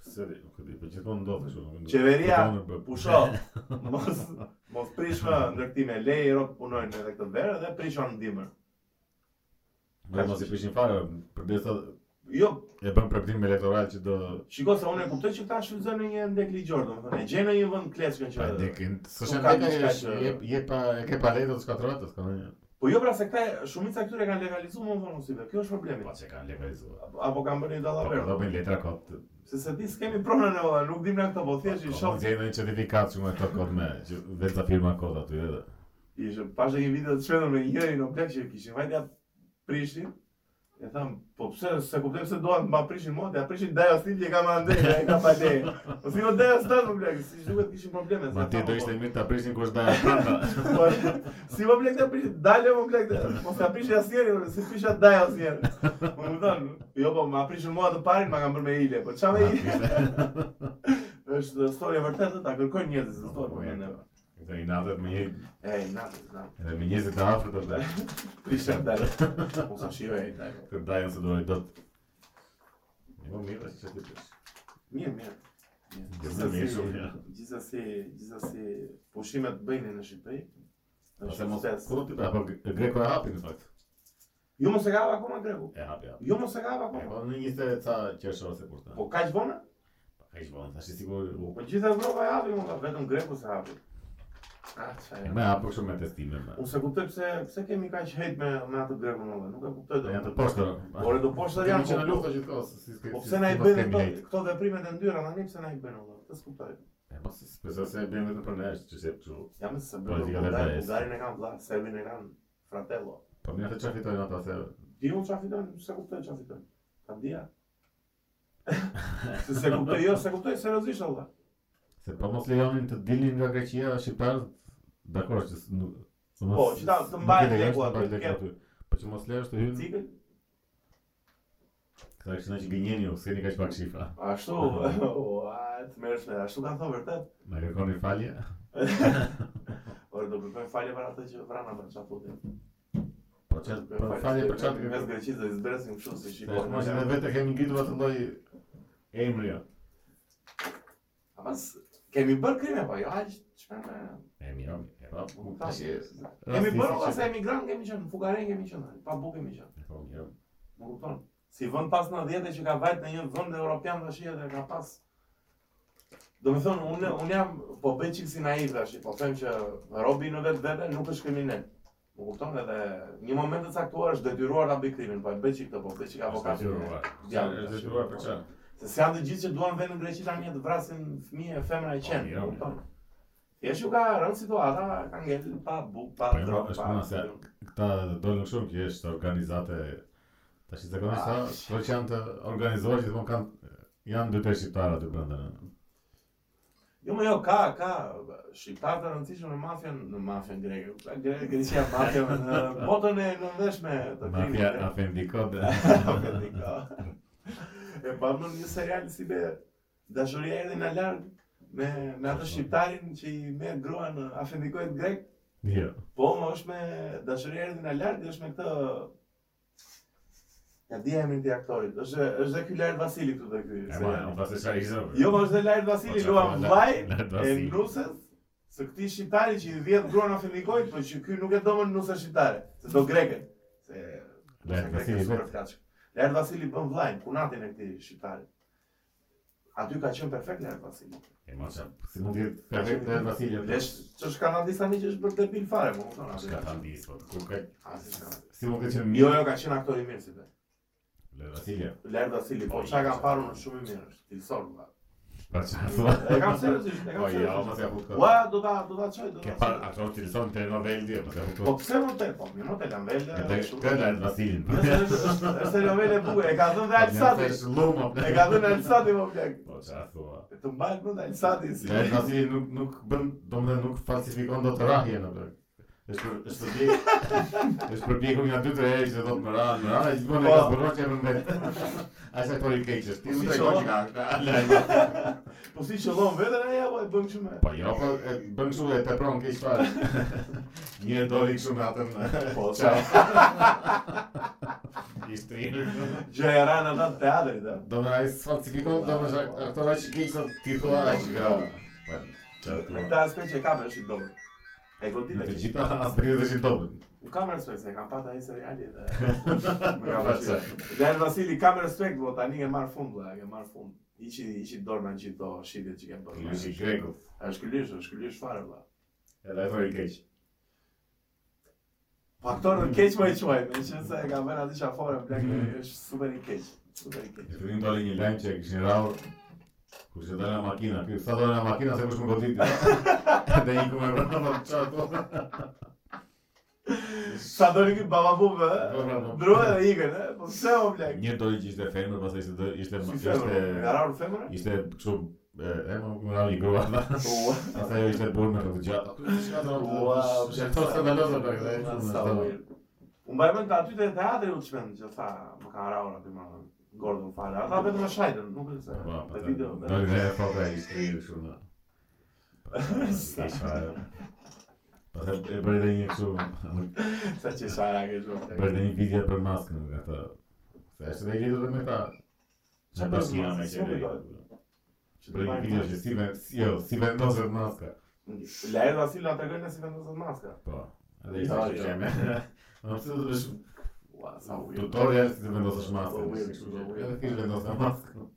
Speaker 2: Se di, nuk e di, po gjithmonë ndodh kështu. nuk e di.
Speaker 1: Qeveria
Speaker 2: Përdonë, po-
Speaker 1: Pusho, mos mos prish më ndërtime, lej rrot punojnë edhe këtë verë dhe prishon ndihmën.
Speaker 2: Dhe mos i prishin fare, përderisa
Speaker 1: Jo,
Speaker 2: e bën premtim elektoral që do
Speaker 1: shiko se unë e kuptoj që këta shfrytëzojnë një ndek ligjor, domethënë e gjejnë në një vend kleçkën
Speaker 2: pa
Speaker 1: që
Speaker 2: dekin. S'është
Speaker 1: Nuk ka
Speaker 2: ndeka
Speaker 1: diçka
Speaker 2: që
Speaker 1: që-
Speaker 2: je je pa e ke pa letë të skatrohet, s'ka ndonjë.
Speaker 1: Po jo pra se këta shumica këtyre kanë legalizuar më vonë ose kjo është
Speaker 2: Po
Speaker 1: problemi.
Speaker 2: që kanë legalizuar.
Speaker 1: Apo- Apo kanë bërë
Speaker 2: Po
Speaker 1: një
Speaker 2: do
Speaker 1: dallaver.
Speaker 2: bëjnë letra kot.
Speaker 1: Se se ti s'kemi pronën e valla, nuk dim na këto, po thjesht i shoh.
Speaker 2: Gjejnë një certifikat shumë e këto kot me, që vetë ta firma kot aty edhe.
Speaker 1: Ishte pashë një video të shpëndon me njërin në plak që kishin vajtë atë Prishtin. E tham, po pse se kuptoj pse doan ma prishin mua, ja prishin Dajo Stil që e ka mandej, e ka pa leje. Po si më Dajo Stil më plak, si duhet kishin probleme. se
Speaker 2: Ma ti
Speaker 1: tham,
Speaker 2: do
Speaker 1: po,
Speaker 2: ishte mirë ta prishin kush da e pranda.
Speaker 1: po, si më plak të prishin, dalë më plak të, po se prishin asnjëri, ore, si prisha Dajo asnjëri. Po më thon, jo po ma prishin mua të parin, ma kanë bërë me ile, po çfarë me ile? Është storia vërtetë, ta kërkojnë njerëzit,
Speaker 2: Po, po,
Speaker 1: storia.
Speaker 2: po. Këto i natët me një,
Speaker 1: Ej, natë, natë.
Speaker 2: edhe me njëzit të afrët është da.
Speaker 1: Prisha Dajo. Po sa shivej Dajo.
Speaker 2: Të dajën se dojë dot. Jo, mirë është që ti prish.
Speaker 1: Mirë, mirë.
Speaker 2: Gjithsesi- Jo, mirë shumë, ja.
Speaker 1: Gjithsesi, gjithsesi pushimet bëjnë në Shqipëri.
Speaker 2: Ose mos kur ti apo greko e hapi në fakt.
Speaker 1: Ju Jo, mos e ka hapë akoma greku.
Speaker 2: E hapi. hapi.
Speaker 1: Ju mos e ka hapë
Speaker 2: E
Speaker 1: akoma.
Speaker 2: po në 20 ca qershë ose kur ta.
Speaker 1: Po kaq vonë?
Speaker 2: Ai shvon, tash i sigur u.
Speaker 1: Po gjithë Evropa e hapi, mund ta vetëm greku se hapi. Ah, çfarë.
Speaker 2: Më apo kështu me testime më.
Speaker 1: Unë se kuptoj pse pse kemi kaq hate me me atë grekun më Nuk e kuptoj
Speaker 2: Janë të
Speaker 1: dot.
Speaker 2: poshtë.
Speaker 1: Por do poshtë Po, janë
Speaker 2: që po- në
Speaker 1: po-
Speaker 2: luftë gjithkohë, si s'ke.
Speaker 1: Po
Speaker 2: si
Speaker 1: pse na i
Speaker 2: s'ke
Speaker 1: bëjnë
Speaker 2: kemi
Speaker 1: këto
Speaker 2: hejt.
Speaker 1: këto veprimet e ndyra tani pse na i bëjnë valla? Të kuptoj.
Speaker 2: E po se s'pesa se e bëjmë vetëm për nesh, që se kështu.
Speaker 1: Jam se bëj.
Speaker 2: Politika
Speaker 1: Bullgarin
Speaker 2: vete,
Speaker 1: Bullgarin e kanë vlla, Serbin e kanë fratello.
Speaker 2: Po mirë të çfarë fitojnë ata se
Speaker 1: Di unë qa fitojnë, se kuptoj qa fitojnë. Ta dia. se se kuptoj, jo, se kuptoj, seriozisht Allah.
Speaker 2: se po mos lejonin të dilnin nga Greqia shqiptarët. Dakor që s- nuk po mos-
Speaker 1: Po, që ta- të
Speaker 2: nuk
Speaker 1: mbajnë
Speaker 2: i lejosh
Speaker 1: leku
Speaker 2: të
Speaker 1: aty,
Speaker 2: mbajnë leku
Speaker 1: kje.
Speaker 2: aty. Po që mos lejosh të hyjnë.
Speaker 1: Cikën?
Speaker 2: Këta kishin që gënjeni ju, s'keni kaq pak shifra.
Speaker 1: Ashtu, o, a, të mërshme, ashtu kanë thonë vërtet.
Speaker 2: Na kërkoni falje.
Speaker 1: Ore, do kërkoj falje për atë që vrana për qa putin.
Speaker 2: Po çfarë? Po falje për çfarë?
Speaker 1: Mes greqit dhe izbresim kështu si
Speaker 2: Se është mos edhe
Speaker 1: shikon.
Speaker 2: vetë kemi ngritur atë lloj emri. jo.
Speaker 1: A pas, kemi bërë krime, po jo, aq, çfarë me...
Speaker 2: E mirë, e pa.
Speaker 1: nuk ta- Kemi bërë, ola, se emigrant kemi qenë, fugaren kemi qenë, pa buk kemi qenë.
Speaker 2: Po mirë.
Speaker 1: Më kupton? Si vend pas 90 që ka vajt në një vend evropian tash edhe ka pas Do me thonë, unë, unë jam, po bëj qikë si naiv tash, po them që robi në vetë vete nuk është kriminal. Më kupton edhe një moment të caktuar është detyruar ta bëj krimin, po e bëj çik të, po bëj çik
Speaker 2: é
Speaker 1: avokat. Djalë,
Speaker 2: Është detyruar për çfarë?
Speaker 1: Se se janë të gjithë që duan vënë në Greqi tani të vrasin fëmijë e femra e qenë,
Speaker 2: mira,
Speaker 1: më kupton? Thjesht ju ka rënë situata, ka ngel pa buk, pa
Speaker 2: Po, jo,
Speaker 1: drogë,
Speaker 2: është
Speaker 1: pa.
Speaker 2: puna se- Këta dolën shumë që është organizate tash zakonisht sa këto që janë të organizuar gjithmonë kanë janë dy tre shqiptarë aty brenda.
Speaker 1: Jo, më jo, ka, ka, shqiptar të rëndësishëm në mafjen, në mafjen greke, pra greke, greqia mafja, në botën e nëndeshme të
Speaker 2: Mafia
Speaker 1: krimit,
Speaker 2: afendikot.
Speaker 1: Vendi ka. E pa më një serial si be, dashuria erdhi në larg, me, me atë shqiptarin që i me grua në afendikojt grek,
Speaker 2: Jo.
Speaker 1: po më është me dashuria erdhi në larg, është me këtë, ja dia emrin të aktorit, është, është dhe ky Lart Vasili këtu dhe ky.
Speaker 2: E ma, Po,
Speaker 1: seriali.
Speaker 2: unë pas e çfarë ishte.
Speaker 1: Jo, më është dhe Lart Vasili, luam vaj,
Speaker 2: é
Speaker 1: E
Speaker 2: Vasili.
Speaker 1: nusës, se këti shqiptari që i vjetë gruan afendikojt, po që ky nuk e do më nusës shqiptare, é se do greke. Se
Speaker 2: Lart Vasili vet.
Speaker 1: Lart Vasili bën vllajn, punatin e këtij shqiptarit. Aty ka qenë perfekt Lart Vasili.
Speaker 2: E mos. Si mund të perfekt Lart Vasili.
Speaker 1: Lesh, ç'është kanë disa miq është bërë debil fare, po kupton aty.
Speaker 2: Ska tandis, po. Ku ka
Speaker 1: Asi s'ka.
Speaker 2: si mund të qenë
Speaker 1: Jo,
Speaker 2: mirë
Speaker 1: jo, ka qenë aktor i mirë si vetë.
Speaker 2: Lart Vasili.
Speaker 1: Lart Vasili, po çka kanë parë në shumë i mirë, është cilësor. valla.
Speaker 2: Pa çfarë?
Speaker 1: E kam seriozisht, e kam
Speaker 2: Po jo, mos
Speaker 1: seriozisht.
Speaker 2: e kuptoj.
Speaker 1: Ua, do ta do ta çoj, do
Speaker 2: Ke
Speaker 1: ta.
Speaker 2: par
Speaker 1: çoj.
Speaker 2: ato të lëson të novel di, mos e
Speaker 1: Po
Speaker 2: kuptoj.
Speaker 1: pse mund të, po, mirë, mund të lam vëllë.
Speaker 2: Edhe kë Lart Vasili.
Speaker 1: Nëse është është novele e bukur, e ka dhënë dhe Alsati.
Speaker 2: Luma.
Speaker 1: E ka dhënë Alsati më plak.
Speaker 2: Po çfarë thua?
Speaker 1: E Të mbajt mund Alsati si.
Speaker 2: Lart Vasili nuk nuk bën, domethënë nuk falsifikon dot rahjen atë. Është për- është përpjek, është përpjekur nga dy tre herë që do të më rah, më rah, i bën e
Speaker 1: Po.
Speaker 2: ka zbërroq që më mbet. Ai sa tori keq është. Ti
Speaker 1: Si
Speaker 2: më
Speaker 1: që
Speaker 2: tregon
Speaker 1: o?
Speaker 2: që ka. ka- ka-
Speaker 1: Po si qëllon veten ai apo e bën kështu me?
Speaker 2: Po jo, po e bën kështu e tepron keq fare. Një herë doli kështu me atë. Po çfarë? e, I strinë.
Speaker 1: Gjë e rana në teatrit, a?
Speaker 2: Do më ai falsifikon, do më ato aq gjëra ti thua aq gjëra. Po, çfarë
Speaker 1: Me
Speaker 2: thua?
Speaker 1: këtë aspekt që ka më është i dobët. E godit
Speaker 2: Në
Speaker 1: e
Speaker 2: të
Speaker 1: gjithë.
Speaker 2: gjitha asbërë dhe dobën.
Speaker 1: Nuk kam respekt, se kam pat ai seriali dhe më ka
Speaker 2: Pastaj.
Speaker 1: vështirë. Lejnë Vasili kam respekt, po tani ke marr fund, vëlla, ke marr fund. Iqi iqi dorë në gjithë do shitjet që ke bërë.
Speaker 2: Ju si grekut.
Speaker 1: Është kylish, është kylish fare vëlla.
Speaker 2: Edhe ai thoi keq.
Speaker 1: Po aktorët keq më e quajnë, me qenë se e ka bërë atë qafore, plak, është super i keq. Super i keq.
Speaker 2: E të doli një lajm që e kishin rrahur. Kur se dalë makina, ky sa dalë makina se kush më godit. Dhe i no, kumë brava çfarë thua?
Speaker 1: Sa doli ky baba bube, ndrua dhe ikën, e? po pse o plak?
Speaker 2: Një doli që ishte femër, pastaj ishte do- ishte
Speaker 1: Si
Speaker 2: ishte
Speaker 1: femër, e ka rarë femër?
Speaker 2: ishte kështu e e më më rali grua.
Speaker 1: Ua,
Speaker 2: Pastaj ajo ishte burë me këtë gjatë. Çka do?
Speaker 1: ua,
Speaker 2: çfarë do të dalë për këtë?
Speaker 1: Sa weird. Unë mbaj mend të aty te teatri u çmend që tha, më ka rarë aty më Gordon fare. Ata vetëm e shajtën, nuk e se. Te video.
Speaker 2: Do të e foka i shkrirë kështu në.
Speaker 1: Sa-
Speaker 2: Pastaj e bëri dhe një kështu,
Speaker 1: Sa që shara ke shumë.
Speaker 2: bëri dhe një video për maskën nga ta. Se është dhe i lidhur edhe me ta. Qa
Speaker 1: Çfarë
Speaker 2: bashkia
Speaker 1: maskë?
Speaker 2: me
Speaker 1: Si
Speaker 2: që
Speaker 1: u
Speaker 2: dhe i
Speaker 1: bëri?
Speaker 2: lidhur. Bëri një video që si, ven, si, jo, si vendoset maska.
Speaker 1: Lajë Vasili na tregoi nëse vendosën maska.
Speaker 2: Po, edhe i thashtë që jam e. Në pëse të bësh
Speaker 1: Ua, sa u.
Speaker 2: tutorial si të vendosësh
Speaker 1: Po,
Speaker 2: maskën.
Speaker 1: weird,
Speaker 2: Kështu
Speaker 1: po,
Speaker 2: që,
Speaker 1: weird.
Speaker 2: Edhe ti vendosë maskën.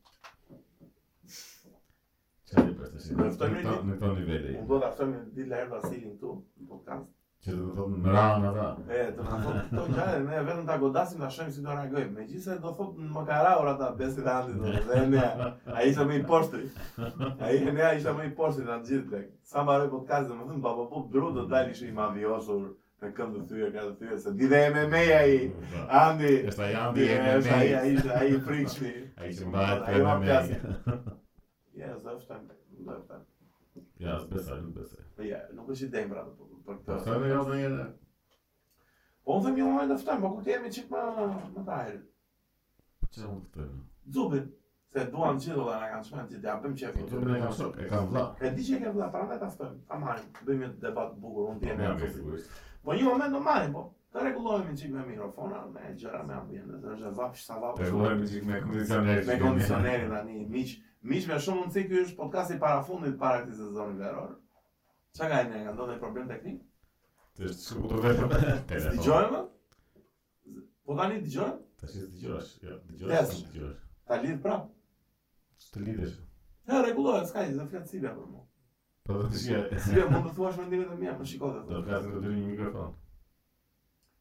Speaker 2: Qa i përshtë
Speaker 1: Do të ftojmë një-
Speaker 2: në këto nivele.
Speaker 1: Unë do ta ftojmë një ditë Lajë Vasilin këtu në podcast.
Speaker 2: Që do të thotë në ranë ata.
Speaker 1: E, të na thotë këto gjare, ne vetëm ta godasim ta shohim si do reagojmë. Megjithëse do thotë më ka rarë ata besi të andit, do dhe ne ai ishte më i poshtri. Ai ne ai ishte më i poshtri na gjithë tek. Sa mbaroi podcast, domethënë baba po dru do dalë ishte i mavioshur me këmbë të thyer, ka të thyer se di dhe MMA ai. Andi.
Speaker 2: Është ai
Speaker 1: Andi,
Speaker 2: Andi e me
Speaker 1: është
Speaker 2: me.
Speaker 1: ai ai ishte ai i frikshmi.
Speaker 2: Ai që mbahet
Speaker 1: Ai
Speaker 2: për
Speaker 1: ma
Speaker 2: me
Speaker 1: pjasi.
Speaker 2: me.
Speaker 1: Ja, zëftan. Zëftan.
Speaker 2: Ja, s'besa, nuk besa.
Speaker 1: Ja, nuk është i denjë pra për- për
Speaker 2: Po
Speaker 1: këtë.
Speaker 2: sa më jam ndonjëherë.
Speaker 1: Po unë them një moment të ftojmë, po ku të jemi çik më më të ajër.
Speaker 2: Çfarë mund të them?
Speaker 1: Zubin, se duan gjithë dhe në kanë shmenë që t'ja bëjmë
Speaker 2: Po
Speaker 1: qefin.
Speaker 2: të bëna kam shok, e kam vlla.
Speaker 1: E di që e ke vla, pra ne ta ftojmë, ta marim, bëjmë një debat bukur, unë t'jem
Speaker 2: Ne
Speaker 1: e
Speaker 2: jam i
Speaker 1: atë.
Speaker 2: sigurt.
Speaker 1: Po një moment do marim, po, të regullojmë një qik me mikrofona, me gjëra, me ambientet, është e vapsh, sa vapsh.
Speaker 2: Të vuajmë me çik me kondicionerin.
Speaker 1: Me kondicionerin tani, miq, miq me shumë mundësi ky është podcasti para fundit para këtij sezoni veror. Çka ka ne, ka ndonjë problem teknik?
Speaker 2: Të shku të vetëm.
Speaker 1: Dëgjojmë? Po tani dëgjojmë?
Speaker 2: Tash dëgjosh. Jo,
Speaker 1: Yes.
Speaker 2: dëgjosh. Dëgjosh.
Speaker 1: Ta lidh prap.
Speaker 2: Të lidhesh.
Speaker 1: Ja rregullohet, s'ka gjë, do flet si për mua.
Speaker 2: Po do të shija.
Speaker 1: Si be, mund të thuash mendimet e mia, më shikoj
Speaker 2: Do
Speaker 1: vetë.
Speaker 2: të flasim të dy në një mikrofon.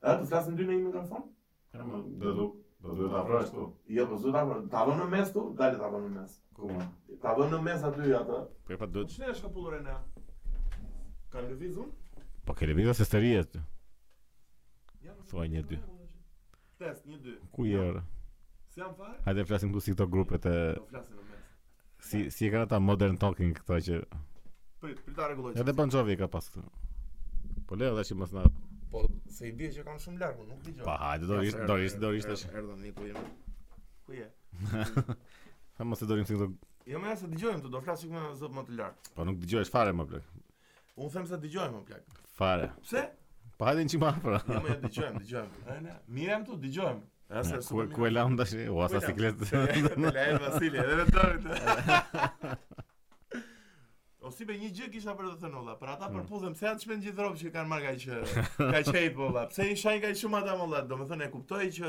Speaker 1: A të flasim dy në një mikrofon?
Speaker 2: Ja, më do du, do duhet ta afrosh tu.
Speaker 1: Jo, po zota, po ta vënë në mes tu, dale ta vënë në mes.
Speaker 2: Ku?
Speaker 1: Ta vënë në mes aty atë.
Speaker 2: Po pa duhet.
Speaker 1: Ç'ne është kapullur ne? Ka lëvizur?
Speaker 2: Po ke lëvizë se stëria.
Speaker 1: Jam
Speaker 2: Thuaj një, dy.
Speaker 1: Test 1 2.
Speaker 2: Ku je ora?
Speaker 1: Si jam fare?
Speaker 2: Hajde flasim këtu si këto grupet e
Speaker 1: Do flasim në mes.
Speaker 2: si si e kanë ata modern talking këto që
Speaker 1: Prit, prit ta rregulloj.
Speaker 2: edhe Bon Jovi e ka pas këtu. Po le tash mos na.
Speaker 1: Po, se i bie që kam shumë larg, unë nuk dëgjoj.
Speaker 2: Pa hajde do ishte do ishte do ishte tash.
Speaker 1: Erdhëm Niku jemi. Ku je?
Speaker 2: Ha mos e dorim si këto.
Speaker 1: Jo më se dëgjojmë, do flas me zot më të lart.
Speaker 2: Po nuk dëgjohesh fare më blek.
Speaker 1: Unë them se dëgjojmë më plak.
Speaker 2: Fare.
Speaker 1: Pse?
Speaker 2: Po hajde një çim afër.
Speaker 1: Jo më dëgjojmë, dëgjojmë. E, ne, Mirë jam tu, dëgjojmë. Asa
Speaker 2: Ku ku e lam tash? Ua sa siklet.
Speaker 1: Lajë Vasili, edhe me dorë. të. si be një gjë kisha për të thënë olla, për
Speaker 2: Hmm.
Speaker 1: ata përputhem pse janë çmend gjithë rrobë që kanë marrë kaq kaq hate po olla. Pse i shajnë kaq shumë ata olla? Domethënë e kuptoj që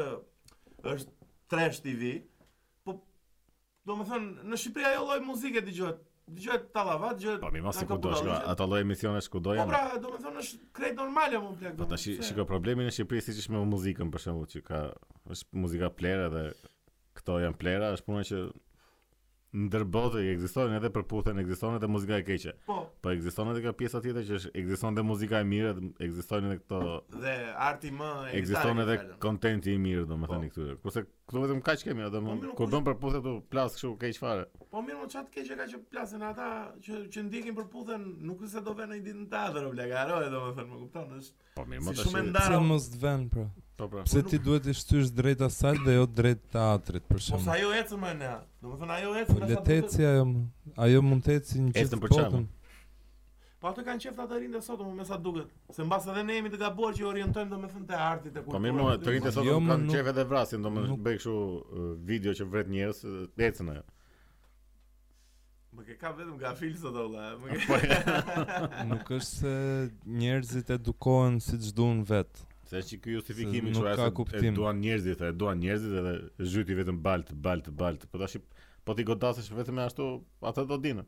Speaker 1: është trash TV, po domethënë në Shqipëri ajo lloj muzike dëgjohet. Dëgjohet tallava, dëgjohet.
Speaker 2: Po mi mos
Speaker 1: ato
Speaker 2: si ku do shko,
Speaker 1: budalliqet.
Speaker 2: ato lloj emisionesh ku do
Speaker 1: Po pra,
Speaker 2: janë.
Speaker 1: domethënë është krejt normale më plak.
Speaker 2: Po tash
Speaker 1: domethënë, se-
Speaker 2: shiko problemi në Shqipëri siç është me muzikën për shembull që ka është muzika plera dhe këto janë plera, është puna që ndërbote ekzistojnë edhe përputhen, ekziston edhe muzika e keqe.
Speaker 1: Po,
Speaker 2: Po ekziston edhe kjo pjesa tjetër që është ekziston edhe muzika e mirë, edhe ekzistojnë edhe këto
Speaker 1: dhe arti më e
Speaker 2: ekziston
Speaker 1: gitare
Speaker 2: edhe
Speaker 1: ka dalë.
Speaker 2: kontenti i mirë domethënë
Speaker 1: Po.
Speaker 2: i këtyre. Kurse këtu vetëm kaq kemi,
Speaker 1: Po,
Speaker 2: domethënë
Speaker 1: mirë,
Speaker 2: kur
Speaker 1: kush-
Speaker 2: bën përputhe tu plas kështu keq fare.
Speaker 1: Po mirë, më çat keq e ka që plasin ata që që ndjekin përputhen, nuk është se do vënë një ditë në teatr, o blega, haroj domethënë, më kupton, është
Speaker 2: Po mirë, më
Speaker 1: si shumë e
Speaker 2: tash.
Speaker 1: ndarë.
Speaker 3: Pse mos të vën pra?
Speaker 2: Po pra.
Speaker 3: Pse ti duhet të shtysh drejt asaj dhe jo drejt teatrit
Speaker 1: Po
Speaker 3: për
Speaker 1: sa
Speaker 3: shembull?
Speaker 1: ajo ecën më ne. Domethënë ajo ecën
Speaker 3: Po
Speaker 1: nga
Speaker 3: le
Speaker 1: sa
Speaker 3: të
Speaker 1: duket-
Speaker 3: eci ajo, më. ajo mund të eci në
Speaker 2: Ecën
Speaker 3: gjithë
Speaker 2: për
Speaker 3: botën.
Speaker 1: Po ato kanë qeft ata rindë sot, më me sa duket. Se mbas edhe ne jemi të gabuar që i orientojmë domethënë te arti te kultura.
Speaker 2: Po mirë, më të rritë sot
Speaker 3: Jo,
Speaker 2: jo,
Speaker 3: më
Speaker 2: kanë
Speaker 3: nuk-
Speaker 2: qef edhe vrasin, do më
Speaker 3: nuk-
Speaker 2: bëj kështu uh, video që vret njerëz, uh, ecën ajo.
Speaker 1: Më ke ka vetëm gafil sot olla. Më ke
Speaker 2: Po,
Speaker 3: Nuk është se njerëzit edukohen siç duan vet.
Speaker 2: se është që ky justifikimi
Speaker 3: Se
Speaker 2: që
Speaker 3: nuk ka
Speaker 2: ajo e
Speaker 3: kuptim.
Speaker 2: duan njerëzit, e duan njerëzit edhe zhyti vetëm balt, balt, balt. Po tash po ti godasesh vetëm me ashtu, ata do dinë.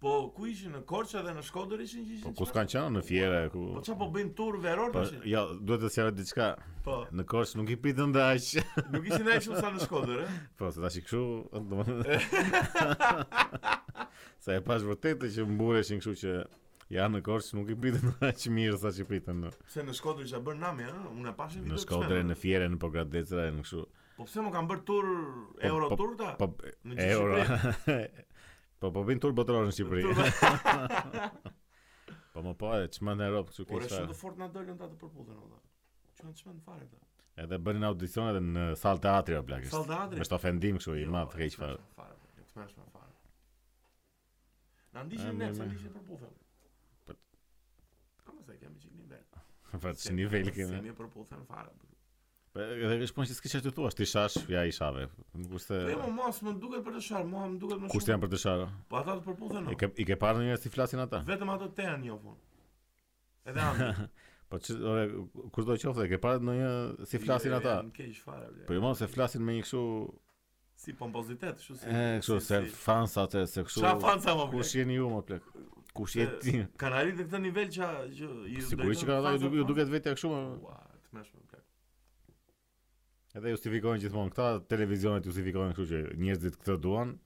Speaker 1: Po ku ishin në Korçë dhe në Shkodër ishin që ishin.
Speaker 2: Po ku
Speaker 1: qef?
Speaker 2: s'kan qenë në fiere ku.
Speaker 1: Po çfarë po bëjnë tur veror
Speaker 2: Po
Speaker 1: tash?
Speaker 2: jo, duhet të sjellë diçka.
Speaker 1: Po,
Speaker 2: Në Korç nuk i pritën dash.
Speaker 1: nuk ishin ai shumë sa në Shkodër, ë?
Speaker 2: Po se tash kështu, domethënë. Sa e pash vërtetë që mbureshin kështu që ja në Korç nuk i pritën aq mirë sa që pritën në
Speaker 1: Pse në Shkodër isha bërë nami, ë? Unë e pashë video.
Speaker 2: Në
Speaker 1: të
Speaker 2: Shkodër,
Speaker 1: shpenë.
Speaker 2: në Fierë, në Pogradecra, në kështu.
Speaker 1: Po pse më kanë bërë tur Euro
Speaker 2: po-
Speaker 1: Turta?
Speaker 2: Po
Speaker 1: Në gjithë
Speaker 2: euro. po po vin tur botror në Shqipëri. po më po, e, çmend në Europë kështu
Speaker 1: Ora
Speaker 2: keq.
Speaker 1: shumë të
Speaker 2: fare.
Speaker 1: fort na dolën ta të përputhen olla. Çan çmend fare ta.
Speaker 2: Edhe bënin audicion edhe në sallë teatri o plakë.
Speaker 1: Sallë teatri? Jo,
Speaker 2: Me
Speaker 1: po,
Speaker 2: shtë ofendim kështu i madh keq fare.
Speaker 1: Fare, të smashme fare. Na
Speaker 2: A,
Speaker 1: ndiqin
Speaker 2: mirë,
Speaker 1: ne, sa
Speaker 2: mirë.
Speaker 1: ndiqin përputhen.
Speaker 2: Po-
Speaker 1: Kam se kemi çik nivel.
Speaker 2: Po ç'i nivel
Speaker 1: Se
Speaker 2: kemi.
Speaker 1: ne përputhen fare.
Speaker 2: Po, Edhe është punë që s'ke çfarë të thuash, ti shash, ja i shave. Kurse
Speaker 1: Po jo mos më duket për të shar, mua më duket më
Speaker 2: kushtë
Speaker 1: shumë.
Speaker 2: janë për të sharë?
Speaker 1: Po ata të përputhen.
Speaker 2: I
Speaker 1: o.
Speaker 2: ke i ke parë ndonjëherë si flasin ata?
Speaker 1: Vetëm ato te janë jofun. Edhe anë.
Speaker 2: Po ç'i ore kushdo qoftë, e ke parë ndonjë si flasin ata?
Speaker 1: Janë Keq fare. ble.
Speaker 2: Po jo mos se flasin me një kështu
Speaker 1: Si pompozitet, kështu si.
Speaker 2: E, kështu
Speaker 1: si-
Speaker 2: se
Speaker 1: si-
Speaker 2: fansa të se kështu.
Speaker 1: Qa fansa më
Speaker 2: Kush
Speaker 1: kush
Speaker 2: jeni ju më plak? Kush je ti?
Speaker 1: Kanë arritë në këtë nivel që që i
Speaker 2: Sigurisht që kanë ata ju- ju duket vetja kështu. më.
Speaker 1: Ua, të mëshme plak.
Speaker 2: Edhe justifikojnë gjithmonë këta televizionet justifikojnë kështu që njerëzit këtë duan.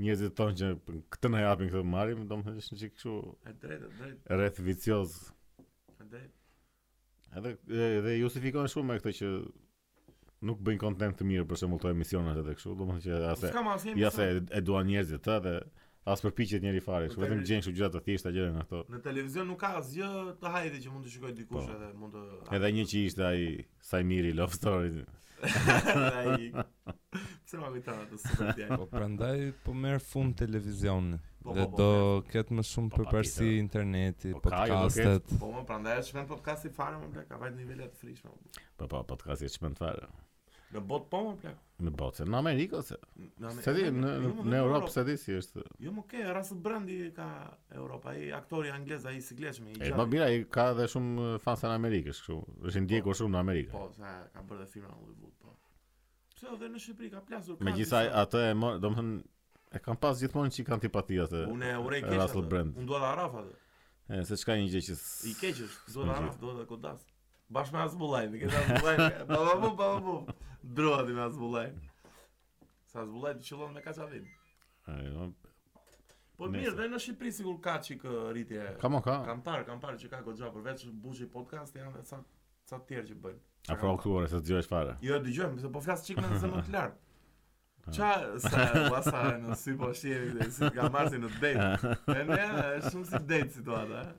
Speaker 2: Njerëzit thonë që këtë na japin këtë marrim, domethënë është një çik kështu
Speaker 1: E drejtë, e drejtë,
Speaker 2: rreth vicioz.
Speaker 1: e drejtë.
Speaker 2: Edhe edhe justifikojnë shumë me këtë që nuk bëjnë kontent të mirë për shembull këto emisionet edhe kështu, domethënë që
Speaker 1: Po
Speaker 2: asë
Speaker 1: s'kam asnjë
Speaker 2: ja
Speaker 1: emision.
Speaker 2: se e duan njerëzit të dhe as përpiqet njëri fare, kështu
Speaker 1: Po,
Speaker 2: vetëm
Speaker 1: tele-
Speaker 2: gjen kështu gjëra të thjeshta gjëra nga ato.
Speaker 1: Në televizion nuk ka asgjë të hajde që mund të shikoj dikush
Speaker 2: Po.
Speaker 1: edhe mund të
Speaker 2: Edhe një që ishte ai Sajmiri Love Story.
Speaker 1: ai. Pse ma kujton atë super djalë.
Speaker 3: Po prandaj po merr fund televizioni.
Speaker 1: Po,
Speaker 3: Dhe
Speaker 1: po, po,
Speaker 3: do ketë më shumë
Speaker 2: Po,
Speaker 3: përparësi
Speaker 2: patjetër.
Speaker 3: interneti,
Speaker 2: Po, ka, jo, do ketë.
Speaker 3: podcastet.
Speaker 1: Po më prandaj është vend podcasti fare më plak, ka vajt nivele të frishme.
Speaker 2: Po po, podcasti është çmend fare.
Speaker 1: Në bot po më plak.
Speaker 2: Në botë, në Amerikë ose?
Speaker 1: Në Amer-
Speaker 2: Se di, në,
Speaker 1: Jo, më
Speaker 2: në
Speaker 1: vetëm
Speaker 2: Europë, se di si është.
Speaker 1: Jo më ke, Russell Brandi ka Europa, ai aktori anglez ai i sigleshëm i
Speaker 2: E,
Speaker 1: gjallë.
Speaker 2: ma bira, i ka edhe shumë eh, fansa në Amerikë, është kështu. është i ndjekur shumë në Amerikë.
Speaker 1: Po, sa ka bërë dhe filma në Hollywood, po. Pse edhe në Shqipëri ka plasur
Speaker 2: Me gjithsaj, atë e morë, do më thënë, e kam pas gjithmonë që i kanë tipatia të
Speaker 1: unë e urej keq.
Speaker 2: Russell
Speaker 1: atë.
Speaker 2: Brand.
Speaker 1: Unë dua ta harraf atë.
Speaker 2: E, se çka një gjë që... s-
Speaker 1: I keq është, dua
Speaker 2: s'më
Speaker 1: ta harraf,
Speaker 2: gjithë.
Speaker 1: dua ta godas. Bashkë me Azbullajn, e ke ta Azbullajn. Pa pa pa pa pa. Droa ti me Azbullajn. Sa Azbullajn të qëllon me kaçavin.
Speaker 2: E, jo,
Speaker 1: Po
Speaker 2: Nëse.
Speaker 1: mirë, dhe në Shqipëri sigur ka çik ë, rritje.
Speaker 2: Ka mo ka.
Speaker 1: Kam parë, kam parë që ka goxha përveç Bushi podcast janë edhe sa sa të tjerë që bëjnë.
Speaker 2: A pra këtu ore, se të gjësh fare.
Speaker 1: Jo, e dëgjojmë, sepse po flas çik me në zemër të lartë. Qa sa wasa në si po shjeri dhe si ka marrë si në date. E ne është shumë si date situata. eh.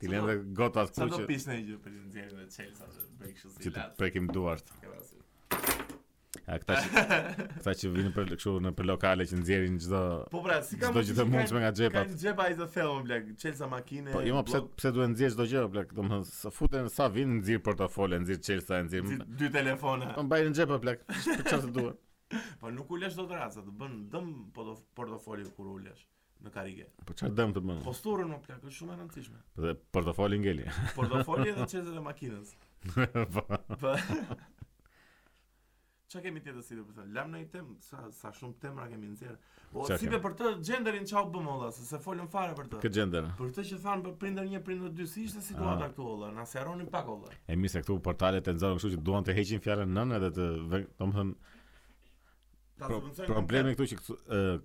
Speaker 2: Ti lënë dhe gotat
Speaker 1: Sa
Speaker 2: këtu
Speaker 1: do
Speaker 2: që...
Speaker 1: pish në i gjë për të nxjerrë në Chelsea që bëj kështu si
Speaker 2: Që të
Speaker 1: latë.
Speaker 2: prekim duart.
Speaker 1: Ke rasti.
Speaker 2: A këta që, këta që vinë për, kështu në për lokale që nxjerrin çdo
Speaker 1: Po pra, si ka
Speaker 2: çdo gjë të mundshme nga
Speaker 1: Ka
Speaker 2: xhepat.
Speaker 1: në xhepa ai të thellë, blek, Chelsea makine.
Speaker 2: Po jo, ma pse pse duhet nxjerrë çdo gjë, plak, domethënë sa futen sa vin nxjerr portofole, nxjerr çelsa,
Speaker 1: Si
Speaker 2: nxjerr.
Speaker 1: dy telefona.
Speaker 2: Po mbajnë në xhep o, plak, për çfarë të duhet?
Speaker 1: Po nuk ulesh dot raca, të bën dëm portof- portofoli kur ulesh. në karige.
Speaker 2: Po çfarë dëm të bën?
Speaker 1: Posturën më plak, është shumë e rëndësishme.
Speaker 2: Dhe portofoli ngeli.
Speaker 1: Portofoli dhe çezet e makinës.
Speaker 2: Po.
Speaker 1: Po. Çka kemi tjetër si të përthënë? Lam në një temë, sa, sa shumë temra kemi nëzirë. O,
Speaker 2: Çfarë
Speaker 1: si
Speaker 2: kemi?
Speaker 1: për të gjenderin qa u bëmë olla, se se folëm fare për të.
Speaker 2: Kë gjender.
Speaker 1: Për këtë që thanë për prindër një, prindër dy, si ishte situata
Speaker 2: Ah.
Speaker 1: këtu olla, na se haronin pak olla.
Speaker 2: E mi se këtu portalet e nxorën kështu që duan të heqin fjalën nën edhe të vë- domethënë
Speaker 1: Ta
Speaker 2: pro,
Speaker 1: zëvendësojnë
Speaker 2: problemi këtu që këtu, ë,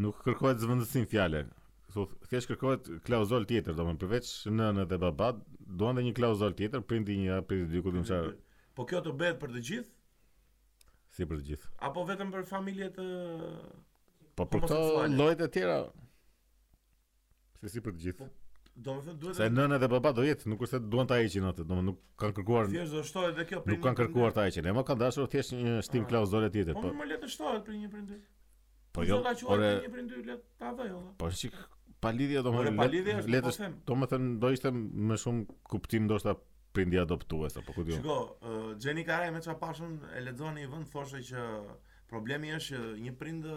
Speaker 2: nuk kërkohet zëvendësim fjale. Kështu thjesht kërkohet klauzol tjetër, domethënë përveç nën dhe babat duan edhe një klauzol tjetër, prindi një, prindi dy, ku diun
Speaker 1: komplet.
Speaker 2: çfarë,
Speaker 1: Po kjo të bëhet për të gjithë,
Speaker 2: si për të gjithë.
Speaker 1: apo vetëm për familje të...
Speaker 2: Po për këto
Speaker 1: Homoseksuale.
Speaker 2: llojet e tjera se si për të gjithë.
Speaker 1: Do me thënë duhet
Speaker 2: Se
Speaker 1: të...
Speaker 2: nëna dhe baba do jetë, nuk është se duan ta heqin atë, domethënë nuk kanë kërkuar
Speaker 1: Thjesht do shtohet dhe kjo
Speaker 2: nuk kanë kërkuar ta heqin. Ema kanë dashur thjesht një shtim
Speaker 1: Ah.
Speaker 2: klauzole tjetër,
Speaker 1: Po
Speaker 2: po
Speaker 1: më le të shtohet për një prindër.
Speaker 2: po jo.
Speaker 1: Ta quaj
Speaker 2: Ore,
Speaker 1: për një prindër, le ta vëj olla.
Speaker 2: po shik pa lidhje
Speaker 1: Ore
Speaker 2: domethënë
Speaker 1: pa
Speaker 2: let-
Speaker 1: lidhje është,
Speaker 2: let
Speaker 1: po
Speaker 2: është-
Speaker 1: them.
Speaker 2: domethënë do ishte më shumë kuptim ndoshta prindi adoptues apo ku diun.
Speaker 1: Shiko, uh, Gjeni Karaj me çfarë pashën e lexova në një vend thoshte që problemi është që një prind uh,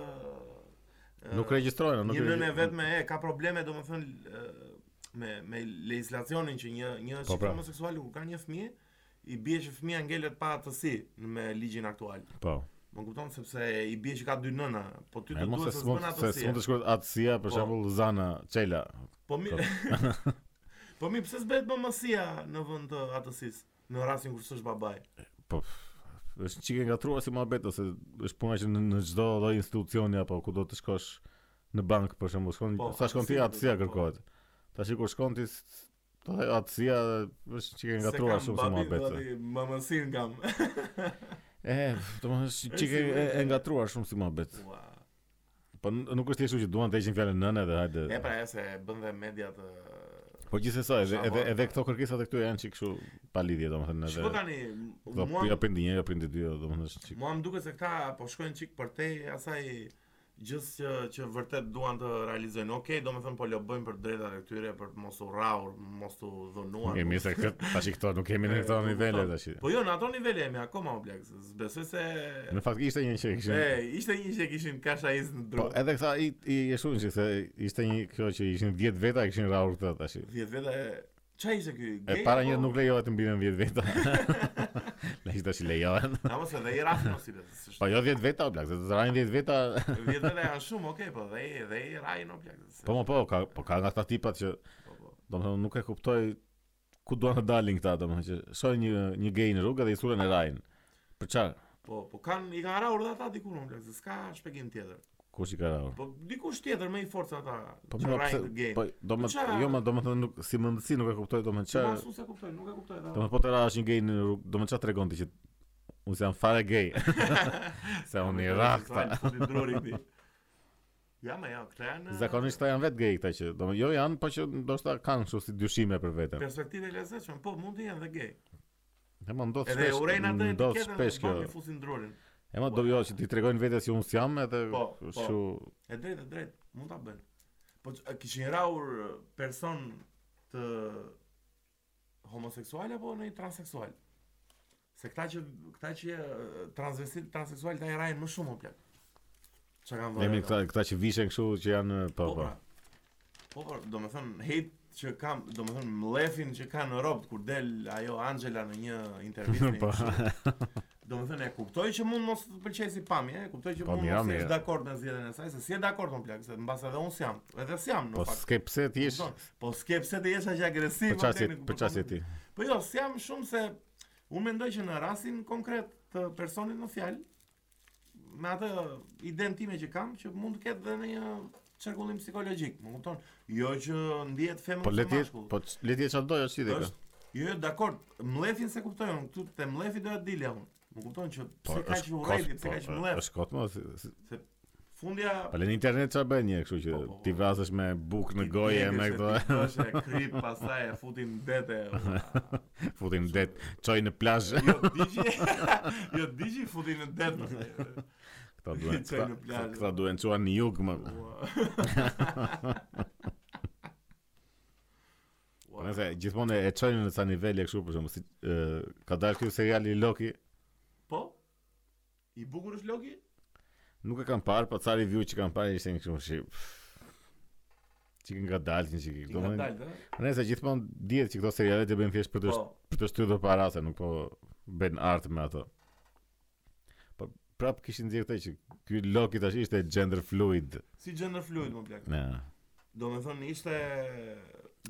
Speaker 2: Nuk regjistrojnë, Po nuk
Speaker 1: Një
Speaker 2: regji-
Speaker 1: nën e vetme e ka probleme domethënë uh, me me legislacionin që një një
Speaker 2: Po,
Speaker 1: shqip
Speaker 2: pra.
Speaker 1: homoseksual kur ka një fëmijë i bie që fëmia ngelet pa atësi me ligjin aktual.
Speaker 2: Po.
Speaker 1: Më kupton sepse i bie që ka dy nëna, po ty
Speaker 2: E
Speaker 1: të
Speaker 2: mos
Speaker 1: duhet
Speaker 2: se
Speaker 1: të
Speaker 2: s'mund
Speaker 1: zbën
Speaker 2: se s'mund të
Speaker 1: atësi.
Speaker 2: shkruaj atësia për
Speaker 1: Po.
Speaker 2: shembull Zana Çela.
Speaker 1: Po mi Po mi pse s'bëhet më mësia në vend të atësisë në rastin kur s'është babai.
Speaker 2: Po është çike ngatruar si mohabet ose është puna që në në çdo lloj institucioni apo ku do të shkosh në bank për shembull, shkon
Speaker 1: Po,
Speaker 2: sa shkon ti
Speaker 1: atësia
Speaker 2: atësia
Speaker 1: duhet, po.
Speaker 2: kërkohet. Tash kur shkon ti s- do të atësia është çike ngatruar shumë si mohabet. se.
Speaker 1: Më mësin kam.
Speaker 2: E, domethënë është çike e, e ngatruar shumë si mohabet.
Speaker 1: Ua.
Speaker 2: Po n- nuk është thjesht kështu që duan të heqin fjalën nënë edhe hajde.
Speaker 1: E pra e se bën dhe media të
Speaker 2: Po gjithsesi edhe edhe
Speaker 1: Shabon.
Speaker 2: edhe këto kërkesat e këtu janë çik kështu pa lidhje domethënë edhe.
Speaker 1: Shiko tani,
Speaker 2: Do
Speaker 1: mua
Speaker 2: ja prindi një, ja prindi dy, domethënë është çik.
Speaker 1: mua më duket se këta po shkojnë çik për te asaj gjës që, që vërtet duan të realizojnë. Okej, do me thënë po lo bëjmë për drejtat e këtyre, për të mos u rrahur, mos u dhunuar.
Speaker 2: Mirë, mirë se këtë, tash i këto nuk kemi në këto
Speaker 1: E,
Speaker 2: nivele
Speaker 1: kupton.
Speaker 2: tash.
Speaker 1: Po jo, në ato nivele jemi akoma o blek, se zbesoj se...
Speaker 2: Në fakt ishte një që e kishin.
Speaker 1: E, ishte një që e kishin kashajis në dru.
Speaker 2: Po edhe këta i i e shohin që se ishte një kjo që ishin 10 veta e kishin rrahur këta tash.
Speaker 1: Vjetë veta e... Qa ishte ky? po?
Speaker 2: E
Speaker 1: Gay
Speaker 2: para
Speaker 1: apo-
Speaker 2: një nuk lejohet të mbilen 10 veta. Ne ishte tash lejohen.
Speaker 1: Na mos edhe i rafë mos i le, s'është-
Speaker 2: Po jo 10 veta, o blak, se të rajnë 10 veta.
Speaker 1: Vjetë veta janë shumë, okej, po dhe, dhe i rajnë o plak. se-
Speaker 2: Po mo, po, ka po ka nga këta tipat që
Speaker 1: po, po.
Speaker 2: domethënë nuk e kuptoj ku duan të dalin këta domethënë që shohin një një gay në rrugë dhe i sulën e rajin. Për çfarë?
Speaker 1: Po, po kanë i kanë rarur dhe ata diku në plak, se s'ka shpjegim tjetër.
Speaker 2: Kush i ka rrahur?
Speaker 1: Po dikush tjetër më i fortë se ata.
Speaker 2: Po
Speaker 1: që
Speaker 2: më
Speaker 1: rajnë
Speaker 2: pse
Speaker 1: këtë game.
Speaker 2: po do më
Speaker 1: çfarë?
Speaker 2: jo më do më thënë nuk si mendësi nuk e kuptoj do më
Speaker 1: Që
Speaker 2: çfarë
Speaker 1: mos unë se kuptoj, nuk e kuptoj ata.
Speaker 2: do më po të ra është një gay në rrugë do më çfarë tregon ti që unë se jam fare gay se unë i rah këta
Speaker 1: këta. Ja, ma ja, këta janë
Speaker 2: zakonisht këta janë vetë gay këta që do më jo janë po që ndoshta kanë kështu si dyshime për veten
Speaker 1: perspektive e lezetshme, po mund të jenë dhe gay.
Speaker 2: e më ndodh
Speaker 1: Edhe
Speaker 2: shpesh
Speaker 1: urejnë atë
Speaker 2: ndodh
Speaker 1: etiketën dhe
Speaker 2: shpesh mm, kjo
Speaker 1: bën i fusin drurin.
Speaker 2: e më do jo që ti tregojnë vetes që unë s'jam edhe
Speaker 1: Po, po.
Speaker 2: kështu
Speaker 1: E drejtë, e drejtë, mund ta bëjnë. Po që- a kishin raur e, person të homoseksual apo në transseksual? Se këta që këta që e, transvestit transseksual ta i rajnë më shumë o plak. Çka kanë
Speaker 2: Jemi
Speaker 1: ata?
Speaker 2: këta këta që vishen kështu që janë po po.
Speaker 1: po. pra. Po po, do me thënë, hate që kam, do me thënë, mlefin që ka në Europë, kur del ajo Angela në një intervistë
Speaker 2: Po.
Speaker 1: një kështu. Do me thënë, e kuptoj që mund mos të pëlqej si pamje, e kuptoj që
Speaker 2: Po,
Speaker 1: mund
Speaker 2: mira,
Speaker 1: mos
Speaker 2: mira.
Speaker 1: jesh dakord me zgjedhjen e saj, se si je dakord më plak, se mbas edhe unë s'jam, edhe s'jam
Speaker 2: Po
Speaker 1: në fakt.
Speaker 2: s'ke pse ti jesh
Speaker 1: Kupton? Po s'ke pse të jesh aq agresiv.
Speaker 2: për çasje
Speaker 1: o plak,
Speaker 2: për çasje ti.
Speaker 1: Po jo, s'jam shumë se unë mendoj që në rastin konkret të personit në fjalë, me atë idenë time që kam, që mund të ketë dhe në një çarkullim psikologjik, më kupton? Jo që ndihet femë
Speaker 2: Po le
Speaker 1: ose
Speaker 2: ti
Speaker 1: mashkull.
Speaker 2: po le ti çfarë doja si dhe kjo.
Speaker 1: Është- Jo, jo, dakor, mlefin se kuptoj unë, këtu te mlefi doja të dilja unë. Më kupton që
Speaker 2: Po,
Speaker 1: pse kaq
Speaker 2: është
Speaker 1: urrëti,
Speaker 2: kot-
Speaker 1: pse kaq
Speaker 2: po,
Speaker 1: mlef.
Speaker 2: Është kot, mo, si- si-
Speaker 1: Fundja
Speaker 2: Po le në internet çfarë bën një, kështu që
Speaker 1: Po, po, po.
Speaker 2: ti vrasesh me bukë në
Speaker 1: ti
Speaker 2: goje
Speaker 1: djegesh
Speaker 2: me
Speaker 1: e
Speaker 2: këto,
Speaker 1: ti bësh e krip, pastaj e futin dete. ua.
Speaker 2: futin në det, çoj në plazh.
Speaker 1: Jo, digji. Jo, digji futin në det. më.
Speaker 2: Këta duhen.
Speaker 1: Çoj në plazh.
Speaker 2: këta- Këta duhen çuan në jug më.
Speaker 1: Ua.
Speaker 2: Po nëse gjithmonë e- e çojnë në sa nivele kështu për shembull, si ë, ka dalë ky seriali Loki,
Speaker 1: Po? I bukur është Loki?
Speaker 2: nuk e kam parë, po ca review që kam parë ishte një kështu si Çikën nga dalsin çikë.
Speaker 1: I
Speaker 2: Do
Speaker 1: ka
Speaker 2: më
Speaker 1: dalë, ëh.
Speaker 2: nëse gjithmonë dihet që këto serialet e bëjnë thjesht për të
Speaker 1: Po,
Speaker 2: për të shtytur para se nuk po bën art me ato. Po prap kishin nxjerrë këtë që ky Loki tash ishte gender fluid.
Speaker 1: si gender fluid më plak.
Speaker 2: Ne.
Speaker 1: Do me thënë ishte...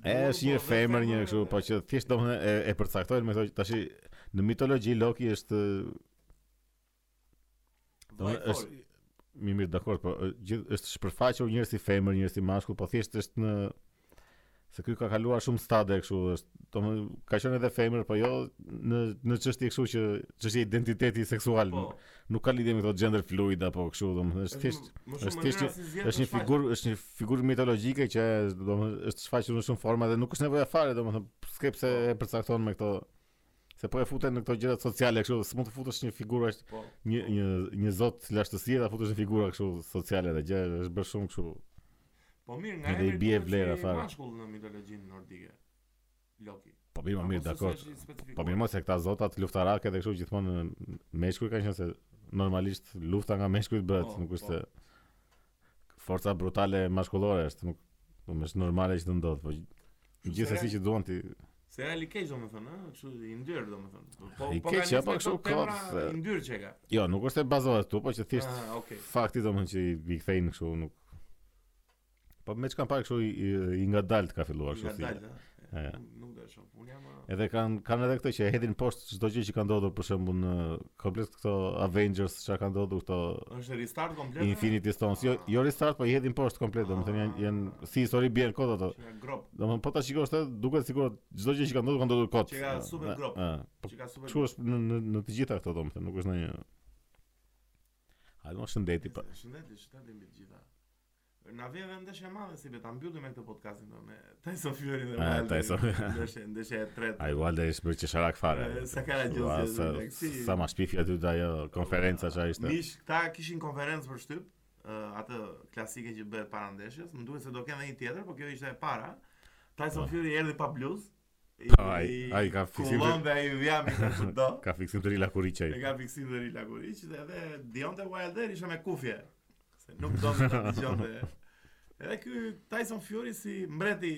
Speaker 2: E është një
Speaker 1: Po, dhe
Speaker 2: femër një kështu,
Speaker 1: femër,
Speaker 2: po që thjesht domethënë e, e përcaktojnë me këto që tash në mitologji Loki është
Speaker 1: vaj,
Speaker 2: domethënë është mi mirë dakord, po ë, gjithë është shpërfaqur njerëz si femër, njerëz si mashkull, po thjesht është në se ky ka kaluar shumë stade kështu, është domethënë ka qenë edhe femër, po jo në në çështje kështu që çështje identiteti seksual.
Speaker 1: Po,
Speaker 2: Nuk ka lidhje me këto gender fluid apo kështu, domethënë është thjesht
Speaker 1: më
Speaker 2: është
Speaker 1: shumë
Speaker 2: thjesht
Speaker 1: mënyra si zgjedh
Speaker 2: është një
Speaker 1: është faqe.
Speaker 2: figurë, është një figurë mitologjike që domethënë është shfaqur në shumë forma dhe nuk është nevoja fare domethënë skep se e përcakton me këto se po e futen në këto gjëra sociale kështu, s'mund të futesh një figurë është
Speaker 1: Po,
Speaker 2: një një një zot lashtësie ta futesh në figura kështu sociale dhe gjë është bërë shumë kështu.
Speaker 1: po mirë, nga
Speaker 2: Edhe i
Speaker 1: emri
Speaker 2: bie
Speaker 1: duket
Speaker 2: vlera
Speaker 1: si
Speaker 2: fare.
Speaker 1: mashkull në mitologjinë nordike. Loki.
Speaker 2: Po mirë, ma
Speaker 1: Apo
Speaker 2: mirë,
Speaker 1: se
Speaker 2: dakord.
Speaker 1: s'është i specifikuar.
Speaker 2: Po mirë, mos se këta zotat luftarake dhe kështu gjithmonë në meshkuj kanë qenë se normalisht lufta nga meshkujt bëhet,
Speaker 1: Po,
Speaker 2: nuk
Speaker 1: po.
Speaker 2: është se forca brutale mashkullore është, nuk do më është normale që të ndodh, po
Speaker 1: Kështu
Speaker 2: gjithsesi
Speaker 1: se-
Speaker 2: që duan ti
Speaker 1: Se reali keq domethënë, ëh, kështu i ndyr domethënë. Po po
Speaker 2: I
Speaker 1: po
Speaker 2: keq,
Speaker 1: ka nisur
Speaker 2: apo
Speaker 1: me
Speaker 2: kështu
Speaker 1: këto femra,
Speaker 2: kot, se-
Speaker 1: i ndyr që ka.
Speaker 2: Jo, nuk është e bazohet këtu, po që thjesht
Speaker 1: Ah, okay.
Speaker 2: fakti do më që i, i kthejnë kështu, nuk... Po me që kanë parë kështu i, i, i nga dalë të ka filluar
Speaker 1: Nga
Speaker 2: po kështu
Speaker 1: dalë,
Speaker 2: si.
Speaker 1: ëh.
Speaker 2: E.
Speaker 1: Nuk- Nuk do të shoh. Unë jam a-
Speaker 2: Edhe kanë kanë edhe këtë që e hedhin poshtë çdo gjë që ka ndodhur për shembull në komplet këto Avengers çka ka ndodhur këto
Speaker 1: është restart komplet. ëh?
Speaker 2: Infinity Stones. Jo, jo restart, po i hedhin poshtë komplet, domethënë janë janë si histori bien kot ato.
Speaker 1: Që ka grop,
Speaker 2: Domethënë po ta shikosh të duket sikur çdo gjë që ka ndodhur ka ndodhur kot.
Speaker 1: Që ka super grop.
Speaker 2: Ëh, po
Speaker 1: që ka super.
Speaker 2: Kështu është në, në, në të gjitha këto domethënë, nuk është ndonjë Hajde më shëndeti po. pa.
Speaker 1: Shëndetje, shëndetje mbi të gjitha. Na vjen dhe ndeshja e madhe si be ta mbyllim me këtë podcastin do me Tyson Fury dhe
Speaker 2: Ah,
Speaker 1: Wilder.
Speaker 2: Tyson.
Speaker 1: Ndeshja, ndeshja e tretë.
Speaker 2: Ai Walda ishte bërë që sharak fare.
Speaker 1: E, sa ka gjë
Speaker 2: Ua,
Speaker 1: zë-
Speaker 2: sa-
Speaker 1: zë- si-
Speaker 2: Sa ma shpifi aty dhe ajo konferenca që ishte.
Speaker 1: Mish, këta kishin konferencë për shtyp, ë, atë klasike që bëhet para ndeshjes. Më duhet se do kenë edhe një tjetër, por kjo ishte e para. Tyson
Speaker 2: Po.
Speaker 1: Fury erdhi pa bluz. i-
Speaker 2: Po, ai-
Speaker 1: i
Speaker 2: ai ka fiksim
Speaker 1: Kullon dhe ai vjami ka çdo.
Speaker 2: Ka fiksim të rila kuriqe.
Speaker 1: E ka fiksim dhe Rila Kuriq dhe edhe Deontay Wilder isha me kufje. Se nuk do të ta dëgjonte. Edhe ky Tyson Fury si mbreti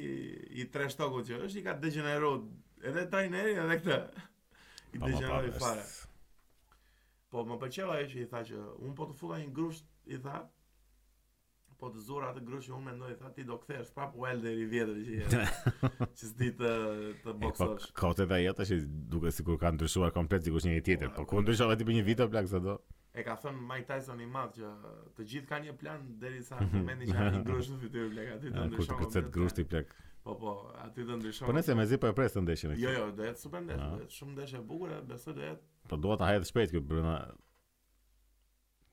Speaker 1: i treshtoku që është i ka degeneruar edhe trajnerin edhe këtë. I
Speaker 2: Po, ma
Speaker 1: degeneroi
Speaker 2: pa,
Speaker 1: fare.
Speaker 2: është-
Speaker 1: Po më pëlqeu ajo që i tha që un po të futa një grusht i tha. Po të zura atë grusht që unë mendoj i tha ti do kthesh prap Wilder i vjetër që je. që s'di të të
Speaker 2: E, Po,
Speaker 1: boksosh.
Speaker 2: kot edhe ajo tash duket sikur ka ndryshuar komplet sikur është një tjetër, po
Speaker 1: Po,
Speaker 2: ku ndryshova ti për një vit o plak se do.
Speaker 1: E ka thënë Mike Tyson i madh që të gjithë kanë një plan derisa në momentin që kanë një grush në fytyrë blek aty të
Speaker 2: Ja, Kur të
Speaker 1: ndryshon.
Speaker 2: kërcet
Speaker 1: komplet.
Speaker 2: grushti plak.
Speaker 1: Po po, aty të ndryshon.
Speaker 2: Po nëse mezi po e pres të ndeshjen. e
Speaker 1: Jo
Speaker 2: këtë.
Speaker 1: jo, do jetë super ndesh,
Speaker 2: Ah.
Speaker 1: do jetë shumë ndesh e bukur, e besoj do jetë.
Speaker 2: Po dua ta hedh shpejt ky brenda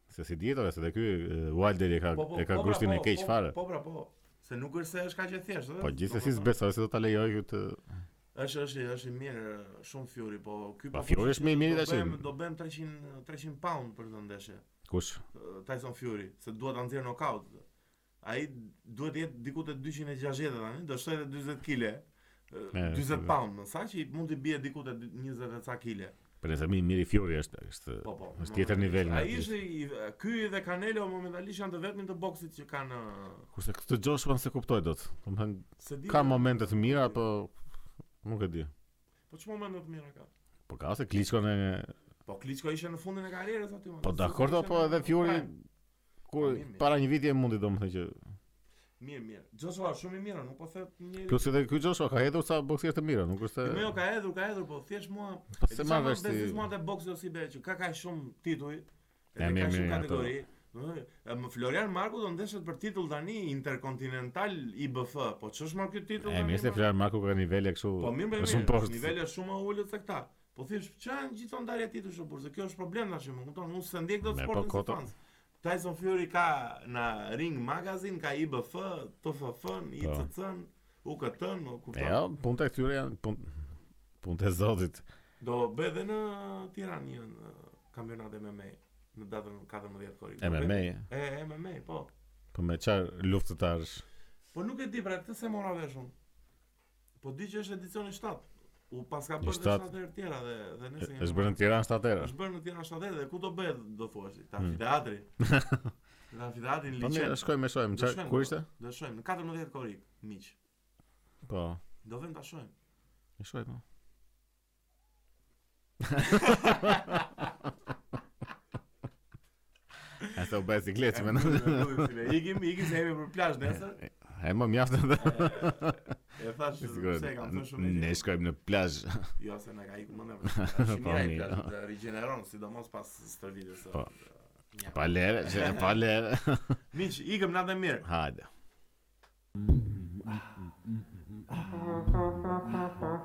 Speaker 2: Se si dihet ora se dhe ky e, Wilder e ka
Speaker 1: Po po,
Speaker 2: e ka
Speaker 1: po, pra,
Speaker 2: grushtin e
Speaker 1: po,
Speaker 2: keq
Speaker 1: po,
Speaker 2: fare.
Speaker 1: Po pra po. Se nuk është se është kaq e thjeshtë, ëh.
Speaker 2: Po gjithsesi
Speaker 1: Domethënë,
Speaker 2: s'besoj se do ta lejoj këtë
Speaker 1: Është është është i mirë, shumë Fury, po ky
Speaker 2: Pa,
Speaker 1: po
Speaker 2: Fury
Speaker 1: thotë
Speaker 2: është më i
Speaker 1: që
Speaker 2: miri
Speaker 1: do
Speaker 2: tash.
Speaker 1: bëjmë- Do bëjmë 300 300 pound për këtë ndeshje.
Speaker 2: kush
Speaker 1: uh, Tyson Fury, se duhet ta nxjerrë knockout. Ai duhet të jetë diku te 260 tani, do shtojë edhe 40 kg.
Speaker 2: E,
Speaker 1: 40
Speaker 2: po.
Speaker 1: eh, pound, sa që i- mund të bie diku te 20 e ca kg.
Speaker 2: për nëse mi miri Fury është është
Speaker 1: Po po.
Speaker 2: është tjetër nivel nga
Speaker 1: Ai
Speaker 2: ky.
Speaker 1: ishte i- ky dhe Canelo momentalisht janë të vetmin të boksit që kanë uh,
Speaker 2: kurse këtë Joshua se kuptoj dot. Domethënë
Speaker 1: se di.
Speaker 2: ka momente të mira po nuk e di.
Speaker 1: Po ç'mo mendon të mira ka?
Speaker 2: Po ka se Klitschko në
Speaker 1: Po Klitschko ishte në fundin e karrierës aty. më.
Speaker 2: po
Speaker 1: Se
Speaker 2: dakord
Speaker 1: ishte
Speaker 2: po
Speaker 1: në-
Speaker 2: edhe Fury
Speaker 1: Prime.
Speaker 2: kur
Speaker 1: Po, mirë, mirë.
Speaker 2: para një viti e mundi domethënë që
Speaker 1: Mirë, mirë. Joshua shumë i mirë, nuk po thot një.
Speaker 2: plus edhe ky Joshua ka hedhur sa boksier të mira, nuk është
Speaker 1: Jo,
Speaker 2: se
Speaker 1: ka hedhur, ka hedhur, po thjesht mua
Speaker 2: po
Speaker 1: E
Speaker 2: se
Speaker 1: di
Speaker 2: ma
Speaker 1: sa
Speaker 2: vesh ti.
Speaker 1: Bezis mua te boksi ose be që ka ka shumë tituj.
Speaker 2: Ja,
Speaker 1: Edhe
Speaker 2: mirë,
Speaker 1: ka shumë
Speaker 2: mirë,
Speaker 1: kategori. Ëh, më Florian Marku do ndeshet për titull tani interkontinental IBF. Po ç'është më ky titull?
Speaker 2: E
Speaker 1: tani,
Speaker 2: mirë se
Speaker 1: mo?
Speaker 2: Flan Marku ka nivele kështu.
Speaker 1: Po mirë,
Speaker 2: është
Speaker 1: mirë, mirë.
Speaker 2: shumë poshtë.
Speaker 1: Niveli është shumë më ulët se këta. Po thjesht ç'a janë gjithë ndarja titujsh burrë, se kjo është problem tash, më kupton? Unë s'e ndjek dot
Speaker 2: Me, po,
Speaker 1: sportin si
Speaker 2: koto.
Speaker 1: fans. Tyson Fury ka në Ring Magazine, ka IBF, TFF-n, ICC-n, UKT-n, më
Speaker 2: E
Speaker 1: kupton?
Speaker 2: jo, punët e këtyre janë punë punë të zotit.
Speaker 1: Do bëhet edhe në Tiranë një në kampionat MMA në datën 14 korrik. Do
Speaker 2: MMA,
Speaker 1: bëhet-
Speaker 2: e.
Speaker 1: E MMA, po.
Speaker 2: po me çfarë luftëtarësh?
Speaker 1: Po nuk e di pra këtë se mora vesh unë. Po di që është edicioni 7. U paska
Speaker 2: Një
Speaker 1: bërë dhe
Speaker 2: shtat.
Speaker 1: 7 herë tjera dhe dhe
Speaker 2: E-
Speaker 1: nëse
Speaker 2: Është bërë në Tiranë shtatera.
Speaker 1: Është bërë në Tiranë 7 herë dhe ku do bëhet do thuash? Ta
Speaker 2: Hmm.
Speaker 1: teatri. Në fidatin
Speaker 2: Po mirë,
Speaker 1: liçen.
Speaker 2: shkojmë e shohim. Çfarë
Speaker 1: shkojmë,
Speaker 2: kur
Speaker 1: po.
Speaker 2: ishte?
Speaker 1: Do shojmë në 14 korik, miq.
Speaker 2: Po.
Speaker 1: Do vëmë ta shohim.
Speaker 2: E shojmë. A sa u bëj sikletë më në
Speaker 1: Ikim, ikim se jemi për plazh nesër.
Speaker 2: E më mjaftë dhe
Speaker 1: E thash
Speaker 2: Sigurisht.
Speaker 1: se e kam thënë shumë.
Speaker 2: Ne
Speaker 1: herë.
Speaker 2: shkojmë në plazh
Speaker 1: Jo, se na ka iku mendja. Shumë
Speaker 2: Po,
Speaker 1: mirë ai
Speaker 2: mirë.
Speaker 1: plazhi, të rigjeneron sidomos pas stërvitjes së.
Speaker 2: Po. Pa lere, që pa lere
Speaker 1: Miq, ikëm natë mirë.
Speaker 2: Hajde
Speaker 4: Thank you.